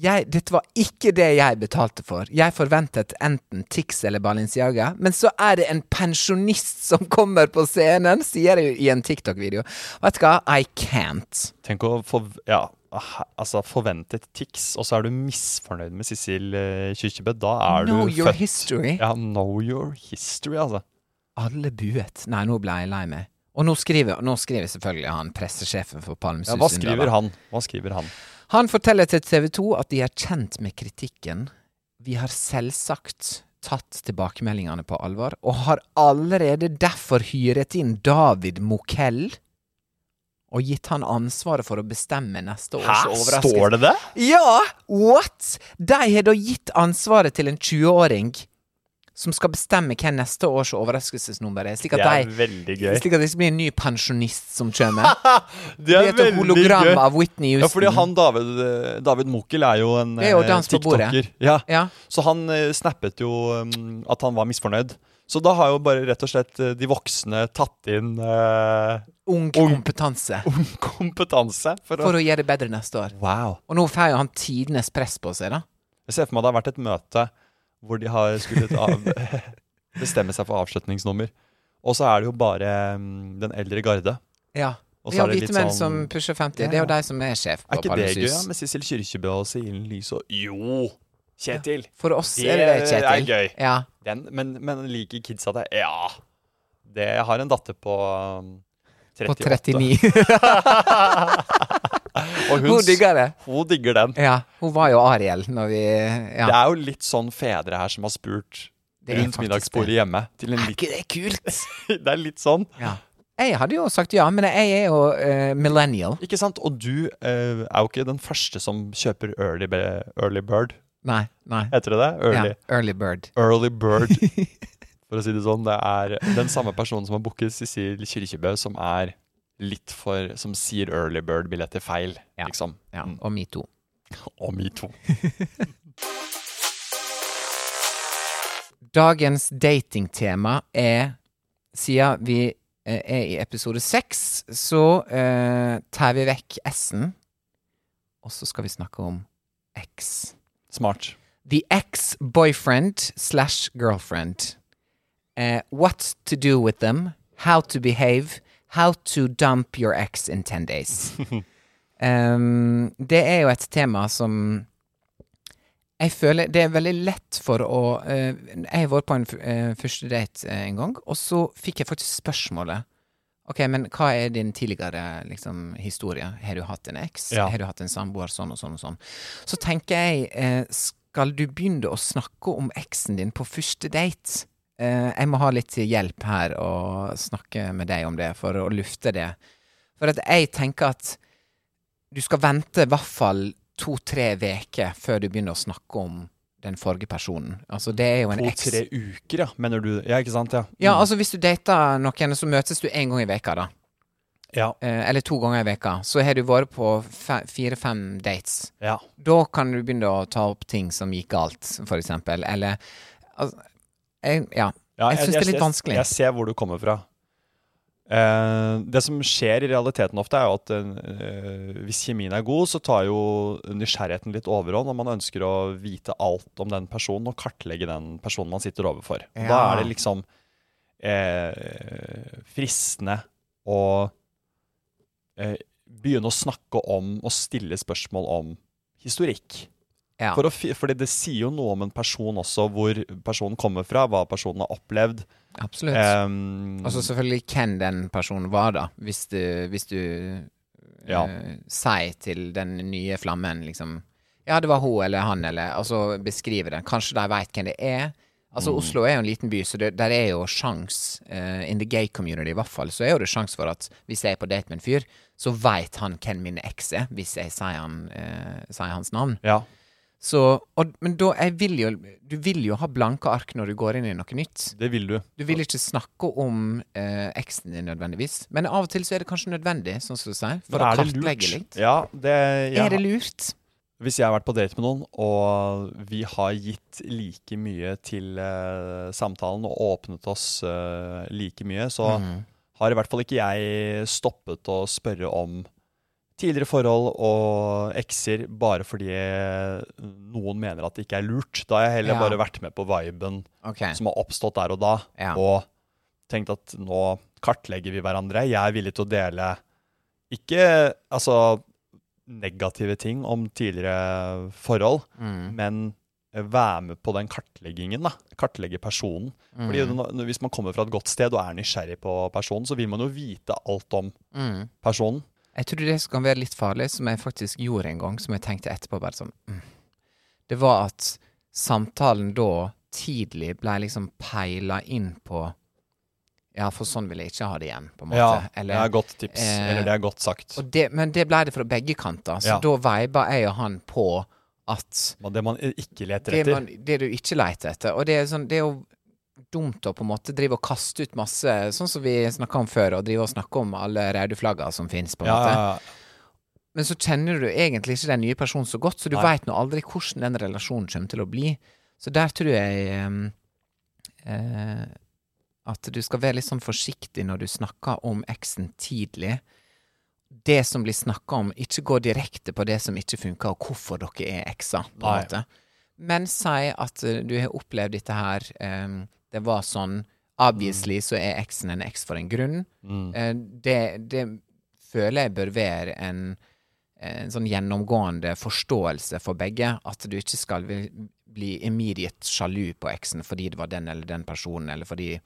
Speaker 2: Jeg, dette var ikke det jeg betalte for. Jeg forventet enten Tix eller Balenciaga, men så er det en pensjonist som kommer på scenen, sier jeg jo i en TikTok-video. Vet du hva, I can't.
Speaker 1: Tenk å få ja, ah, altså forvente et tics, og så er du misfornøyd med Sissel eh, Kyrkjebø. Da er
Speaker 2: Know
Speaker 1: du
Speaker 2: your
Speaker 1: født
Speaker 2: history.
Speaker 1: Ja, know your history, altså.
Speaker 2: Alle buet. Nei, nå ble jeg lei meg. Og nå skriver, nå skriver selvfølgelig han pressesjefen for Palmesus.
Speaker 1: Ja, hva
Speaker 2: under, da.
Speaker 1: skriver han? Hva skriver han?
Speaker 2: Han forteller til TV 2 at de er kjent med kritikken. Vi har selvsagt tatt tilbakemeldingene på alvor, og har allerede derfor hyret inn David Mokell og gitt han ansvaret for å bestemme neste års
Speaker 1: Hæ,
Speaker 2: overraskelse.
Speaker 1: står det det?
Speaker 2: Ja, what?! De har da gitt ansvaret til en 20-åring som skal bestemme hvem neste års overraskelsesnummer er, slik at,
Speaker 1: Det er
Speaker 2: de,
Speaker 1: veldig gøy.
Speaker 2: slik at det ikke blir en ny pensjonist som
Speaker 1: [laughs]
Speaker 2: kommer.
Speaker 1: Det
Speaker 2: Det er et hologram av Whitney
Speaker 1: Ja, fordi
Speaker 2: Houston.
Speaker 1: han David, eh, David Mokel er jo en
Speaker 2: Det er jo
Speaker 1: eh,
Speaker 2: dans på bordet.
Speaker 1: tiktoker. Ja.
Speaker 2: Ja.
Speaker 1: Så han eh, snappet jo mm, at han var misfornøyd. Så da har jo bare rett og slett eh, de voksne tatt inn eh,
Speaker 2: Ung kompetanse.
Speaker 1: ung kompetanse for,
Speaker 2: For
Speaker 1: å
Speaker 2: å gjøre det bedre neste år.
Speaker 1: Wow.
Speaker 2: Og nå får jo han tidenes press på seg, da.
Speaker 1: Jeg ser for meg det har vært et møte hvor de har skullet [laughs] av, bestemme seg for avslutningsnummer. Og så er det jo bare mm, den eldre garde.
Speaker 2: Ja.
Speaker 1: Og så
Speaker 2: Ja,
Speaker 1: er det litt
Speaker 2: hvite menn
Speaker 1: sånn-
Speaker 2: som pusher 50. Det er jo de som er sjef
Speaker 1: Er
Speaker 2: på
Speaker 1: ikke det gøy ja,
Speaker 2: Palmesus.
Speaker 1: med Sissel Kyrkjebø og Silen Lys og Jo! Kjetil!
Speaker 2: For oss
Speaker 1: Det
Speaker 2: er det det,
Speaker 1: er
Speaker 2: Kjetil.
Speaker 1: gøy.
Speaker 2: Ja. [laughs]
Speaker 1: Den, men, men liker kidsa det? Ja. Det, jeg har en datter på um, 38.
Speaker 2: På 39. [laughs]
Speaker 1: Og hun,
Speaker 2: Hun digger det.
Speaker 1: Hun digger den.
Speaker 2: Ja. Hun var jo Ariel når vi
Speaker 1: Det
Speaker 2: Ja.
Speaker 1: er jo litt sånn fedre her som har spurt
Speaker 2: Det er
Speaker 1: rundt
Speaker 2: faktisk
Speaker 1: middagsbordet
Speaker 2: det.
Speaker 1: hjemme. Til en
Speaker 2: Er
Speaker 1: litt,
Speaker 2: ikke det kult?
Speaker 1: [laughs] det er litt sånn.
Speaker 2: [laughs] Ja. Jeg hadde jo sagt ja, men jeg er jo eh, millennial.
Speaker 1: Ikke sant? Og du eh, er jo ikke den første som kjøper early, be- early bird.
Speaker 2: Nei. nei.
Speaker 1: Heter det det? Early,
Speaker 2: Ja, early bird.
Speaker 1: early
Speaker 2: [laughs]
Speaker 1: bird. For å si det sånn, det er den samme personen som har booket Cecil Kyrkjebø, som er litt for Som sier early bird-billetter feil,
Speaker 2: Ja.
Speaker 1: liksom.
Speaker 2: Ja. Og metoo.
Speaker 1: Og metoo.
Speaker 2: Dagens datingtema er Siden vi eh, er i episode seks, så eh, tar vi vekk S-en, og så skal vi snakke om X.
Speaker 1: Smart.
Speaker 2: The ex-boyfriend slash girlfriend. Eh, what to do with them, how to behave, how to dump your ex in 10 days. Em, det er jo et tema som jeg føler det er veldig lett for å eh, Jeg var på en f- eh, første date eh, en gang, og så fikk jeg faktisk spørsmålet Ok, men hva er din tidligere liksom, historie? Har du hatt en eks?
Speaker 1: Ja.
Speaker 2: Har du hatt en samboer? Sånn og sånn og sånn. Så tenker jeg, eh, skal du begynne å snakke om eksen din på første date? Eh, jeg må ha litt hjelp her og snakke med deg om det, for å lufte det. For at jeg tenker at du skal vente i hvert fall to-tre veker før du begynner å snakke om den forrige personen. Altså, det er jo en eks.
Speaker 1: To-tre uker, ja, mener du? Ja, ikke sant? Ja.
Speaker 2: Ja, altså hvis du dater noen, så møtes du én gang i veka da.
Speaker 1: Ja.
Speaker 2: Eh, eller to ganger i veka. Så har du vært på fe- fire-fem dates.
Speaker 1: ja.
Speaker 2: Da kan du begynne å ta opp ting som gikk galt, for eksempel. Eller altså, jeg, Ja.
Speaker 1: Ja,
Speaker 2: jeg syns det er litt vanskelig.
Speaker 1: Jeg, ser hvor du kommer fra. Eh, det som skjer i realiteten ofte, er jo at eh, hvis kjemien er god, så tar jo nysgjerrigheten litt overhånd, og man ønsker å vite alt om den personen og kartlegge den personen man sitter overfor. Og Da
Speaker 3: Ja.
Speaker 1: er det liksom eh, fristende å eh, begynne å snakke om og stille spørsmål om historikk.
Speaker 2: Ja.
Speaker 1: For å, fi- fordi det sier jo noe om en person også, hvor personen kommer fra, hva personen har opplevd.
Speaker 2: Absolutt.
Speaker 1: Ehm,
Speaker 2: Altså selvfølgelig hvem den personen var, da. Hvis du, hvis du
Speaker 1: Ja.
Speaker 2: eh, sier til den nye flammen liksom Ja, det var hun eller han, eller Altså beskrive den. Kanskje de veit hvem det er. Altså Oslo er jo en liten by, så det, der er jo sjans eh, In the gay community i hvert fall, så er jo det sjans for at hvis jeg er på date med en fyr, så veit han hvem min eks er, hvis jeg sier, han, eh, sier hans navn.
Speaker 1: ja.
Speaker 2: Så, og, men da jeg vil jo Du vil jo ha blanke ark når du går inn i noe nytt.
Speaker 1: Det vil du.
Speaker 2: Du vil ikke snakke om eh, eksen din nødvendigvis, men av og til så er det kanskje nødvendig, sånn som du sier, for å
Speaker 1: Men er det
Speaker 2: kartlegge
Speaker 1: lurt?
Speaker 2: litt.
Speaker 1: Ja, det, jeg,
Speaker 2: Er det lurt?
Speaker 1: hvis jeg har vært på date med noen, og vi har gitt like mye til eh, samtalen og åpnet oss eh, like mye, så
Speaker 2: Mhm.
Speaker 1: har i hvert fall ikke jeg stoppet å spørre om tidligere forhold og ekser bare fordi eh, noen mener at det ikke er lurt. Da har jeg heller
Speaker 2: Ja.
Speaker 1: bare vært med på viben
Speaker 2: Ok.
Speaker 1: som har oppstått der og da,
Speaker 2: Ja.
Speaker 1: og tenkt at nå kartlegger vi hverandre. Jeg er villig til å dele ikke altså negative ting om tidligere forhold,
Speaker 2: Mm.
Speaker 1: men være med på den kartleggingen, da. Kartlegge personen. Fordi
Speaker 2: Mm.
Speaker 1: når- hvis man kommer fra et godt sted og er nysgjerrig på personen, så vil man jo vite alt om
Speaker 2: Mm.
Speaker 1: personen.
Speaker 2: Jeg tror det som kan være litt farlig, som jeg faktisk gjorde en gang, som jeg tenkte etterpå bare sånn mm. Det var at samtalen da tidlig ble liksom peila inn på Ja, for sånn vil jeg ikke ha det igjen, på en måte.
Speaker 1: Ja,
Speaker 2: Eller-
Speaker 1: det er godt tips.
Speaker 2: eh,
Speaker 1: eller det er godt sagt.
Speaker 2: og det, men det ble det fra begge kanter, så
Speaker 1: Ja.
Speaker 2: da veiba jeg og han på at
Speaker 1: Men Det man ikke leter
Speaker 2: det,
Speaker 1: etter.
Speaker 2: man, det du ikke leter etter. Og det er, sånn, det er jo dumt å på en måte drive og kaste ut masse, sånn som vi snakka om før, og drive og snakke om alle røde flagga som fins, på en
Speaker 1: ja, ja,
Speaker 2: måte.
Speaker 1: ja.
Speaker 2: Men så kjenner du egentlig ikke den nye personen så godt, så du veit nå aldri hvordan den relasjonen kommer til å bli. Så der tror jeg ehm, eh, at du skal være litt sånn forsiktig når du snakker om eksen tidlig. Det som blir snakka om, ikke gå direkte på det som ikke funker, og hvorfor dere er ekser, på en
Speaker 1: Nei.
Speaker 2: måte. Men si at eh, du har opplevd dette her, ehm, det var sånn Obviously så er eksen en eks for en grunn. Eh, det, det føler jeg bør være en en sånn gjennomgående forståelse for begge. At du ikke skal bli- bli immediate sjalu på eksen fordi det var den eller den personen, eller fordi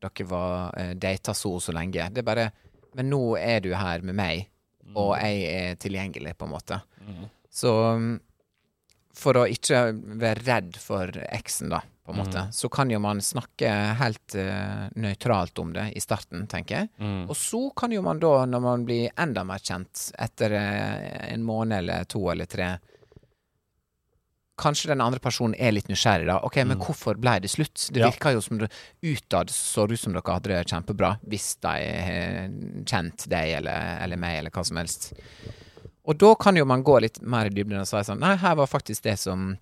Speaker 2: dere var eh, data så og så lenge. Det er bare Men nå er du her med meg, og jeg er tilgjengelig, på en måte. Så mm, for å ikke være redd for eksen, da, på en måte, så kan jo man snakke helt eh, nøytralt om det i starten, tenker jeg.
Speaker 1: Mm.
Speaker 2: Og så kan jo man da, når man blir enda mer kjent etter eh, en måned eller to eller tre Kanskje den andre personen er litt nysgjerrig, da. Ok, men hvorfor ble det slutt? Det
Speaker 1: Mm. Ja.
Speaker 2: virka jo som det, Utad så det ut som dere hadde det kjempebra, hvis de har kjent deg eller, eller meg eller hva som helst. Og da kan jo man gå litt mer i dybden og si sånn Nei, her var faktisk det som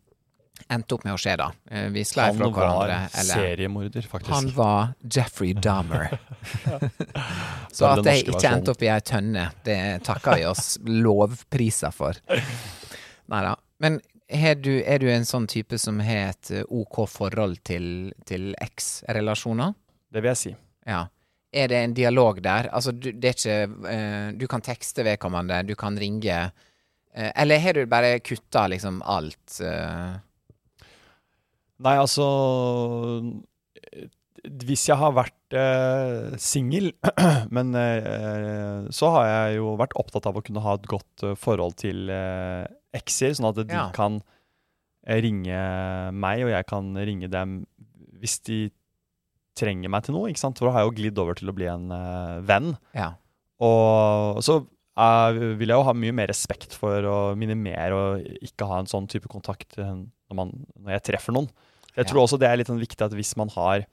Speaker 2: endte opp med å skje, da. Eh, Vi sklei
Speaker 1: Han
Speaker 2: fra
Speaker 1: var
Speaker 2: hverandre. Eller
Speaker 1: seriemorder, faktisk.
Speaker 2: han var Jeffrey Dahmer.
Speaker 1: Så
Speaker 2: Så at
Speaker 1: den
Speaker 2: jeg
Speaker 1: norske
Speaker 2: ikke endte
Speaker 1: versjonen.
Speaker 2: opp i ei tønne, det takker vi oss lovpriser for. Nei da. Men er du, er du en sånn type som har et eh, OK forhold til, til eks-relasjoner?
Speaker 1: Det vil jeg si.
Speaker 2: Ja. Er det en dialog der? Altså, du, det er ikke eh, Du kan tekste vedkommende, du kan ringe. eh, eller har du bare kutta liksom alt? eh?
Speaker 1: Nei, altså eh, Hvis jeg har vært eh, singel, [clears throat] men eh, så har jeg jo vært opptatt av å kunne ha et godt eh, forhold til eh, ekser, sånn at de
Speaker 2: Ja.
Speaker 1: kan eh, ringe meg, og jeg kan ringe dem hvis de trenger meg til noe, ikke sant? For da har jeg jo glidd over til å bli en eh, venn.
Speaker 2: ja.
Speaker 1: Og så eh, vil jeg jo ha mye mer respekt for å minimere og ikke ha en sånn type kontakt eh, når, man, når jeg treffer noen. Jeg tror
Speaker 2: Ja.
Speaker 1: også det er litt sånn viktig at hvis man har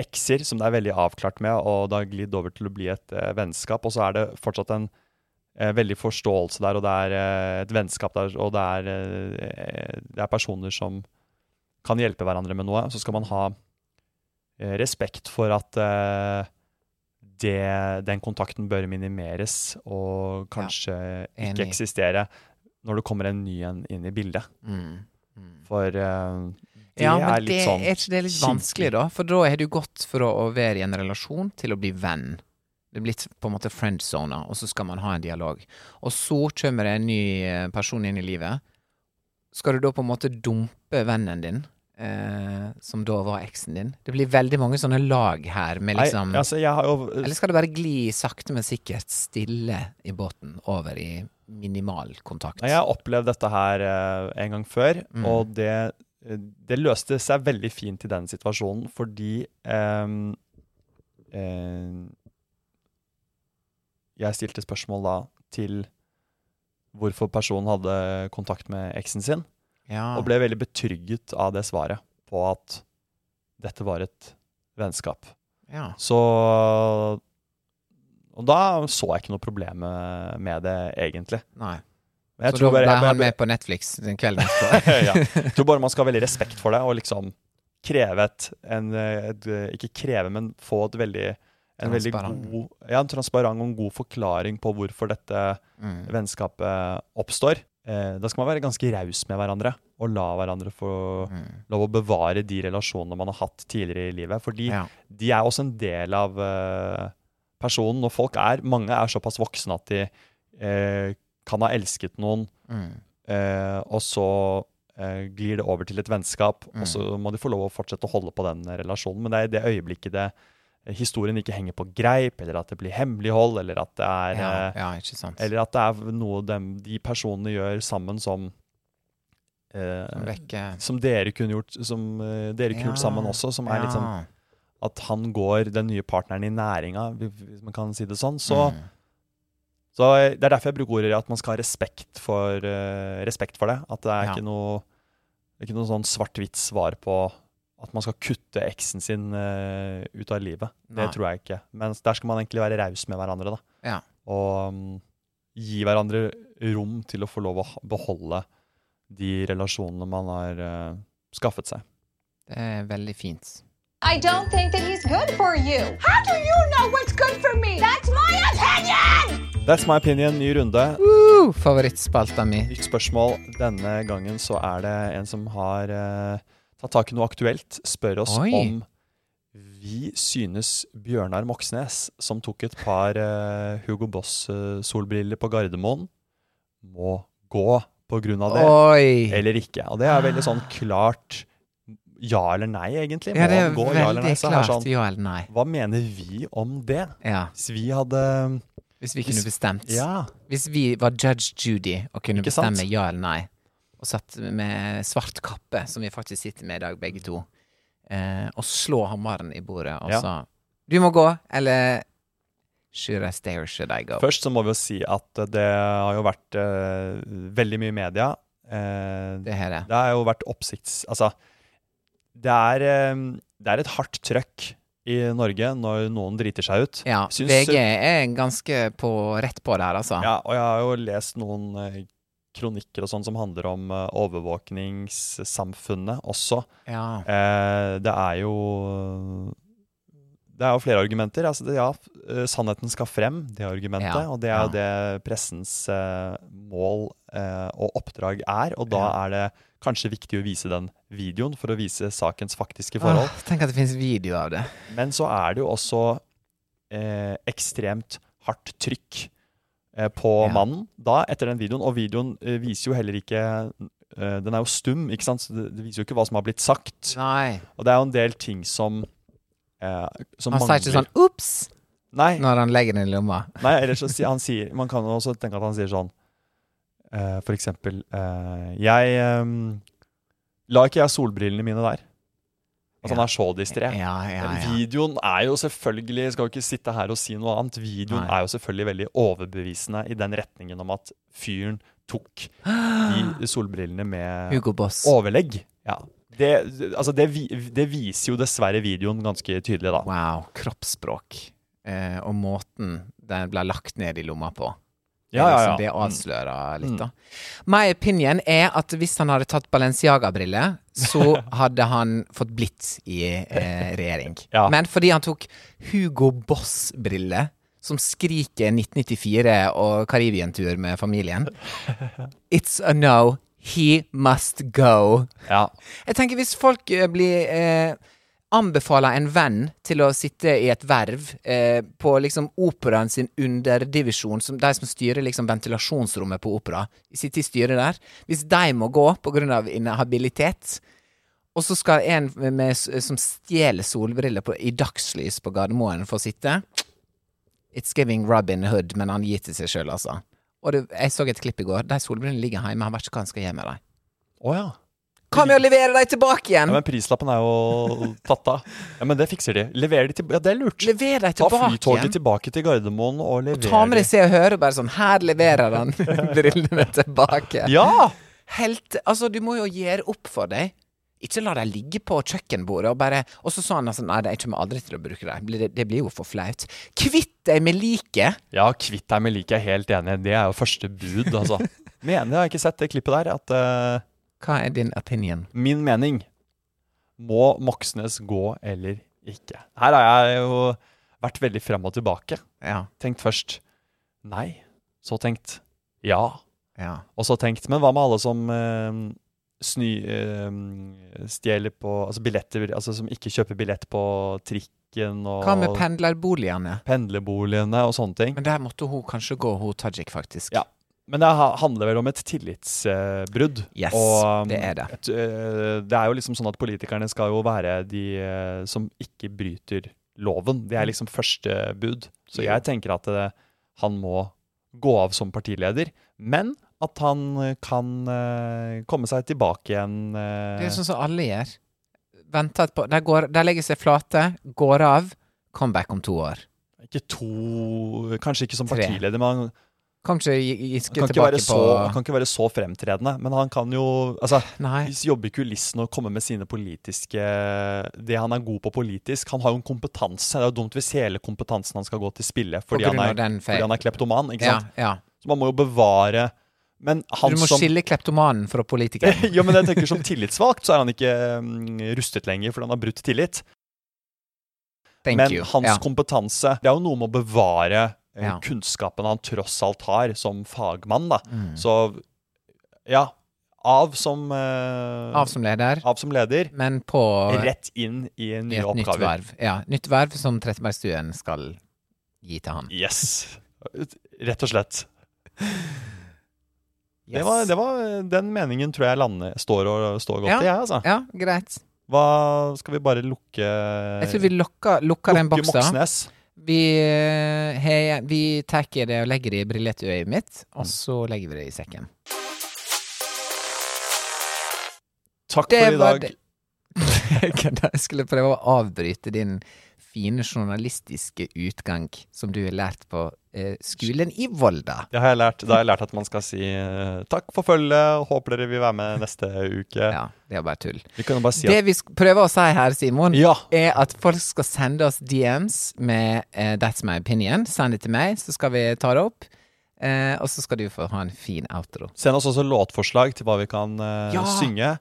Speaker 1: ekser som det er veldig avklart med, og det har glidd over til å bli et eh, vennskap, og så er det fortsatt en eh, veldig forståelse der, og det er eh, et vennskap der, og det er, eh, det er personer som kan hjelpe hverandre med noe, så skal man ha eh, respekt for at eh, det, den kontakten bør minimeres og kanskje ikke
Speaker 2: Enig.
Speaker 1: eksistere når det kommer en ny en inn i bildet.
Speaker 2: Mm,
Speaker 1: For eh, det
Speaker 2: ja, men
Speaker 1: er litt
Speaker 2: det,
Speaker 1: sånn
Speaker 2: Er ikke det litt
Speaker 1: kinkig.
Speaker 2: vanskelig, da? For da har du gått fra å være i en relasjon til å bli venn. Det er blitt på en måte friend zone, og så skal man ha en dialog. Og så kommer det en ny eh, person inn i livet. Skal du da på en måte dumpe vennen din, eh, som da var eksen din? Det blir veldig mange sånne lag her med liksom
Speaker 1: Nei, altså, jeg har jo
Speaker 2: Eller skal du bare gli sakte, men sikkert stille i båten over i minimal kontakt?
Speaker 1: Nei, Jeg har opplevd dette her eh, en gang før, og det, eh, det løste seg veldig fint i den situasjonen, fordi ehm, eh, Jeg stilte spørsmål da til hvorfor personen hadde kontakt med eksen sin,
Speaker 2: Ja.
Speaker 1: og ble veldig betrygget av det svaret på at dette var et vennskap.
Speaker 2: ja.
Speaker 1: Så Og da så jeg ikke noe problem med- med det, egentlig.
Speaker 2: Nei.
Speaker 1: Men jeg
Speaker 2: så
Speaker 1: tror
Speaker 2: da
Speaker 1: bare-
Speaker 2: ble
Speaker 1: jeg- jeg-
Speaker 2: han med på Netflix den kvelden etterpå.
Speaker 1: [laughs] ja. Jeg tror bare man skal ha veldig respekt for det, og liksom kreve et, en, eh, et eh, Ikke kreve, men få et veldig en veldig
Speaker 2: Transparent.
Speaker 1: god, ja, en transparent og en god forklaring på hvorfor dette
Speaker 2: Mm.
Speaker 1: vennskapet oppstår. Eh, da skal man være ganske raus med hverandre og la hverandre få
Speaker 2: Mm.
Speaker 1: lov å bevare de relasjonene man har hatt tidligere i livet. Fordi
Speaker 2: Ja.
Speaker 1: de er også en del av eh, personen, og folk er, mange er såpass voksne at de eh, kan ha elsket noen,
Speaker 2: Mm.
Speaker 1: eh, og så eh, glir det over til et vennskap,
Speaker 2: Mm.
Speaker 1: og så må de få lov å fortsette å holde på den eh, relasjonen. Men det er i det øyeblikket det, eh, historien ikke henger på greip, eller at det blir hemmelighold, eller at det er
Speaker 2: ja,
Speaker 1: eh,
Speaker 2: ja, ikke sant.
Speaker 1: eller at det er noe dem, de personene gjør sammen som eh,
Speaker 2: Som vekker-
Speaker 1: Som dere kunne gjort som, eh, dere kunne gjort
Speaker 2: Ja,
Speaker 1: sammen også. Som er litt sånn
Speaker 2: ja.
Speaker 1: at han går den nye partneren i næringa, hvis man kan si det sånn.
Speaker 2: Mm.
Speaker 1: Så, så eh, Det er derfor jeg bruker ordet at man skal ha respekt for, eh, respekt for det. At det er
Speaker 2: Ja.
Speaker 1: ikke noe, det er ikke noe sånn svart-hvitt svar på at man skal kutte eksen sin eh, ut av livet.
Speaker 2: Nei.
Speaker 1: Det tror jeg ikke. Men der skal man egentlig være raus med hverandre, da.
Speaker 2: Ja.
Speaker 1: Og mm, gi hverandre rom til å få lov å ha- beholde de relasjonene man har eh, skaffet seg.
Speaker 2: Det er veldig fint.
Speaker 4: I don't think that he's good for you. How do you know what's good for me? That's my opinion!
Speaker 1: That's my opinion. Ny runde.
Speaker 2: Uh, favorittspalta mi.
Speaker 1: Nytt spørsmål. Denne gangen så er det en som har eh, tatt tak i noe aktuelt. Spør oss
Speaker 2: Oi.
Speaker 1: om vi synes Bjørnar Moxnes, som tok et par eh, Hugo Boss-solbriller på Gardermoen, må gå på grunn av det,
Speaker 2: Oi!
Speaker 1: eller ikke. Og det er veldig sånn klart ja eller nei, egentlig.
Speaker 2: Ja,
Speaker 1: Må
Speaker 2: det er
Speaker 1: han gå, ja eller
Speaker 2: veldig
Speaker 1: nei? Så her
Speaker 2: klart
Speaker 1: sånn,
Speaker 2: ja eller nei.
Speaker 1: hva mener vi om det?
Speaker 2: Ja,
Speaker 1: Hvis vi hadde
Speaker 2: Hvis vi kunne bestemt.
Speaker 1: Ja.
Speaker 2: Hvis vi var judge Judy og kunne
Speaker 1: Ikke sant?
Speaker 2: bestemme ja eller nei, og satt med svart kappe, som vi faktisk sitter med i dag, begge to, eh, og slå hammeren i bordet og
Speaker 1: Ja.
Speaker 2: sa Du må gå, eller Should I stay or should I go?
Speaker 1: Først så må vi jo si at det har jo vært eh, veldig mye i media. Eh,
Speaker 2: Det her er
Speaker 1: det har jo vært oppsikts... Altså, det er, eh, det er et hardt trøkk i Norge når noen driter seg ut.
Speaker 2: Ja,
Speaker 1: Syns-
Speaker 2: VG er ganske på, rett på der, altså.
Speaker 1: Ja, og jeg har jo lest noen eh, kronikker og sånn som handler om eh, overvåkningssamfunnet også.
Speaker 2: Ja.
Speaker 1: Eh, det er jo det er jo flere argumenter. Altså, det, ja, eh, sannheten skal frem, det er argumentet.
Speaker 2: Ja,
Speaker 1: og det er jo
Speaker 2: ja.
Speaker 1: det pressens eh, mål eh, og oppdrag er. Og da
Speaker 2: Ja.
Speaker 1: er det kanskje viktig å vise den videoen for å vise sakens faktiske forhold.
Speaker 2: Åh, tenk at det finnes video av det.
Speaker 1: Men så er det jo også eh, ekstremt hardt trykk eh, på
Speaker 2: Ja.
Speaker 1: mannen da, etter den videoen. Og videoen eh, viser jo heller ikke eh, Den er jo stum, ikke sant? så det, det viser jo ikke hva som har blitt sagt.
Speaker 2: Nei.
Speaker 1: Og det er jo en del ting som eh, som
Speaker 2: Han sier
Speaker 1: mangler.
Speaker 2: ikke sånn 'ops'
Speaker 1: Nei,
Speaker 2: når han legger den i lomma.
Speaker 1: nei eller så sier han sier Man kan jo også tenke at han sier sånn eh, For eksempel eh, Jeg eh, La ikke jeg solbrillene mine der. At han
Speaker 2: Ja.
Speaker 1: er så distré.
Speaker 2: Ja, ja, ja.
Speaker 1: Videoen er jo selvfølgelig Skal jo ikke sitte her og si noe annet. Videoen
Speaker 2: Nei.
Speaker 1: er jo selvfølgelig veldig overbevisende i den retningen om at fyren tok
Speaker 2: [gasps]
Speaker 1: de solbrillene med
Speaker 2: Hugo Boss.
Speaker 1: overlegg. Ja. Det, altså det, vi- det viser jo dessverre videoen ganske tydelig, da.
Speaker 2: Wow. Kroppsspråk. Eh, og måten den ble lagt ned i lomma på. Det,
Speaker 1: Ja, ja, Mm.
Speaker 2: er
Speaker 1: ja.
Speaker 2: liksom, det avslører litt, da. My opinion er at hvis han hadde tatt Balenciaga-briller, så
Speaker 1: [laughs]
Speaker 2: hadde han fått blitt i eh, regjering.
Speaker 1: Ja.
Speaker 2: Men fordi han tok Hugo Boss-briller, som skriker 1994 og Karibientur med
Speaker 1: [laughs]
Speaker 2: familien It's a no. He must go.
Speaker 1: Ja.
Speaker 2: Jeg tenker hvis folk eh, blir eh, Anbefaler en venn til å sitte i et verv eh, på liksom operaen sin underdivisjon, som de som styrer liksom ventilasjonsrommet på opera, sitte i styret der. Hvis de må gå pga. inhabilitet, og så skal en med, s- som stjeler solbriller på, i dagslys på Gardermoen, få sitte It's giving Robin Hood, men han gir til seg sjøl, altså. Og det, jeg så et klipp i går. De solbrillene ligger hjemme, han vet ikke hva han skal gjøre med dem.
Speaker 1: Å ja.
Speaker 2: Hva med å levere dem tilbake
Speaker 1: ja.
Speaker 2: igjen?
Speaker 1: Men prislappen er jo tatt av. Ja, men det fikser de. Leverer de til Ja, det er lurt.
Speaker 2: Lever dem
Speaker 1: Ta
Speaker 2: tilbake
Speaker 1: flytoget
Speaker 2: igjen.
Speaker 1: tilbake til Gardermoen og lever
Speaker 2: Ta med
Speaker 1: de.
Speaker 2: deg Se og Hør og bare sånn Her leverer
Speaker 1: [laughs]
Speaker 2: han brillene tilbake.
Speaker 1: Ja!
Speaker 2: Helt Altså, du må jo gjøre opp for deg. Ikke la dem ligge på kjøkkenbordet og bare Og så sa han altså Nei, jeg kommer aldri til å bruke dem. Det, det blir jo for flaut. Kvitt deg med liket!
Speaker 1: Ja, kvitt deg med liket, jeg er helt enig. Det er jo første bud, altså. [laughs] Mener jeg har ikke sett det klippet der, at eh,
Speaker 2: Hva er din opinion?
Speaker 1: min mening må Moxnes gå eller ikke. Her har jeg jo vært veldig frem og tilbake.
Speaker 2: Ja.
Speaker 1: Tenkt først nei, så tenkt ja,
Speaker 2: Ja.
Speaker 1: og så tenkt men hva med alle som eh, sny, eh, stjeler på Altså billetter, altså som ikke kjøper billett på trikken og
Speaker 2: Hva med pendlerboligene?
Speaker 1: pendlerboligene og sånne ting.
Speaker 2: Men der måtte hun kanskje gå, hun Tajik, faktisk.
Speaker 1: Ja. Men det ha- handler vel om et tillitsbrudd. um,
Speaker 2: Yes, det er det.
Speaker 1: Et, eh, det er jo liksom sånn at politikerne skal jo være de eh, som ikke bryter loven. Det er
Speaker 2: Mm.
Speaker 1: liksom første bud. Så jeg tenker at eh, han må gå av som partileder, men at han eh, kan eh, komme seg tilbake igjen. eh,
Speaker 2: Det er jo sånn som alle gjør. Venter et par De går- de legger seg flate, går av, comeback om to år.
Speaker 1: Ikke to Kanskje ikke som
Speaker 2: Tre.
Speaker 1: partileder, men han
Speaker 2: Kan ikke gi- Giske
Speaker 1: kan ikke,
Speaker 2: tilbake
Speaker 1: være
Speaker 2: på
Speaker 1: så, han kan ikke være så fremtredende. Men han kan jo altså,
Speaker 2: Nei.
Speaker 1: Hvis jobbe i kulissene og komme med sine politiske Det han er god på politisk Han har jo en kompetanse. Det er jo dumt hvis hele kompetansen han skal gå til spille fordi,
Speaker 2: grunn
Speaker 1: han
Speaker 2: av den
Speaker 1: er,
Speaker 2: feil-
Speaker 1: fordi han er kleptoman. Ikke
Speaker 2: Ja,
Speaker 1: sant?
Speaker 2: ja.
Speaker 1: Så man må jo bevare Men han
Speaker 2: Du må
Speaker 1: som
Speaker 2: skille kleptomanen fra
Speaker 1: [laughs]
Speaker 2: politikeren.
Speaker 1: ja, men jeg tenker Som tillitsvalgt så er han ikke mm, rustet lenger, fordi han har brutt tillit.
Speaker 2: Thank
Speaker 1: men
Speaker 2: you.
Speaker 1: hans
Speaker 2: ja.
Speaker 1: kompetanse Det er jo noe med å bevare eh,
Speaker 2: Ja.
Speaker 1: kunnskapen han tross alt har som fagmann. da.
Speaker 2: Mm.
Speaker 1: Så ja, av som, eh,
Speaker 2: Av som leder,
Speaker 1: av som leder,
Speaker 2: men på
Speaker 1: rett inn i
Speaker 2: i
Speaker 1: nye
Speaker 2: et nytt
Speaker 1: oppgaver.
Speaker 2: verv. Ja, nytt verv som Trettebergstuen skal gi til han.
Speaker 1: Yes. Rett og slett. Det
Speaker 2: Yes.
Speaker 1: var, det var, den meningen tror jeg lander, står, og, står godt
Speaker 2: Ja.
Speaker 1: i, jeg, altså.
Speaker 2: Ja, greit.
Speaker 1: Hva skal vi bare lukke
Speaker 2: Jeg tror vi
Speaker 1: Eh,
Speaker 2: lukker, lukker den
Speaker 1: Lukke
Speaker 2: boksen.
Speaker 1: Moxnes.
Speaker 2: Vi, eh, hei, vi tar det og legger det i brilletøyet mitt, og
Speaker 1: Mm.
Speaker 2: så legger vi det i sekken. [laughs]
Speaker 1: Takk
Speaker 2: Det
Speaker 1: for i
Speaker 2: var
Speaker 1: dag.
Speaker 2: det. Kødda, Jeg skulle prøve å avbryte din fine journalistiske utgang som du har lært på eh, skolen i Volda.
Speaker 1: Det har jeg lært. Da har jeg lært at man skal si eh, takk for følget, håper dere vil være med neste uke.
Speaker 2: Ja, det er bare tull.
Speaker 1: Vi kan jo bare si
Speaker 2: Det
Speaker 1: at
Speaker 2: vi sk- prøver å si her, Simon,
Speaker 1: Ja.
Speaker 2: er at folk skal sende oss DMs med eh, 'That's my opinion'. Send det til meg, så skal vi ta det opp. Eh, og så skal du få ha en fin outro.
Speaker 1: Send oss også låtforslag til hva vi kan eh,
Speaker 2: Ja.
Speaker 1: synge.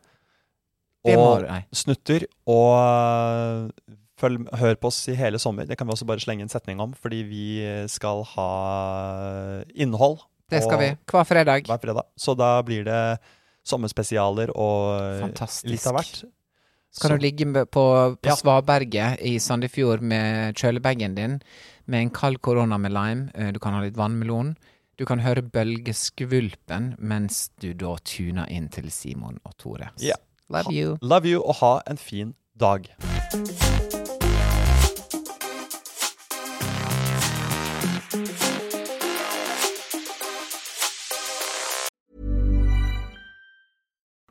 Speaker 2: Det må
Speaker 1: Og
Speaker 2: du- nei.
Speaker 1: snutter. Og eh, følg, hør på oss i hele sommer. Det kan vi også bare slenge en setning om, fordi vi skal ha innhold.
Speaker 2: Det skal
Speaker 1: og-
Speaker 2: vi. Hver fredag.
Speaker 1: Hver fredag. Så da blir det sommerspesialer og eh,
Speaker 2: Fantastisk.
Speaker 1: litt av hvert.
Speaker 2: Skal
Speaker 1: Så-
Speaker 2: du ligge med- på, på
Speaker 1: Ja.
Speaker 2: svaberget i Sandefjord med kjølebagen din, med en kald korona med lime, eh, du kan ha litt vannmelon. Du kan høre bølgeskvulpen mens du da tuner inn til Simon og Tore.
Speaker 1: Ja.
Speaker 2: Love
Speaker 1: Ha-
Speaker 2: you.
Speaker 1: Love you, og ha en fin dag.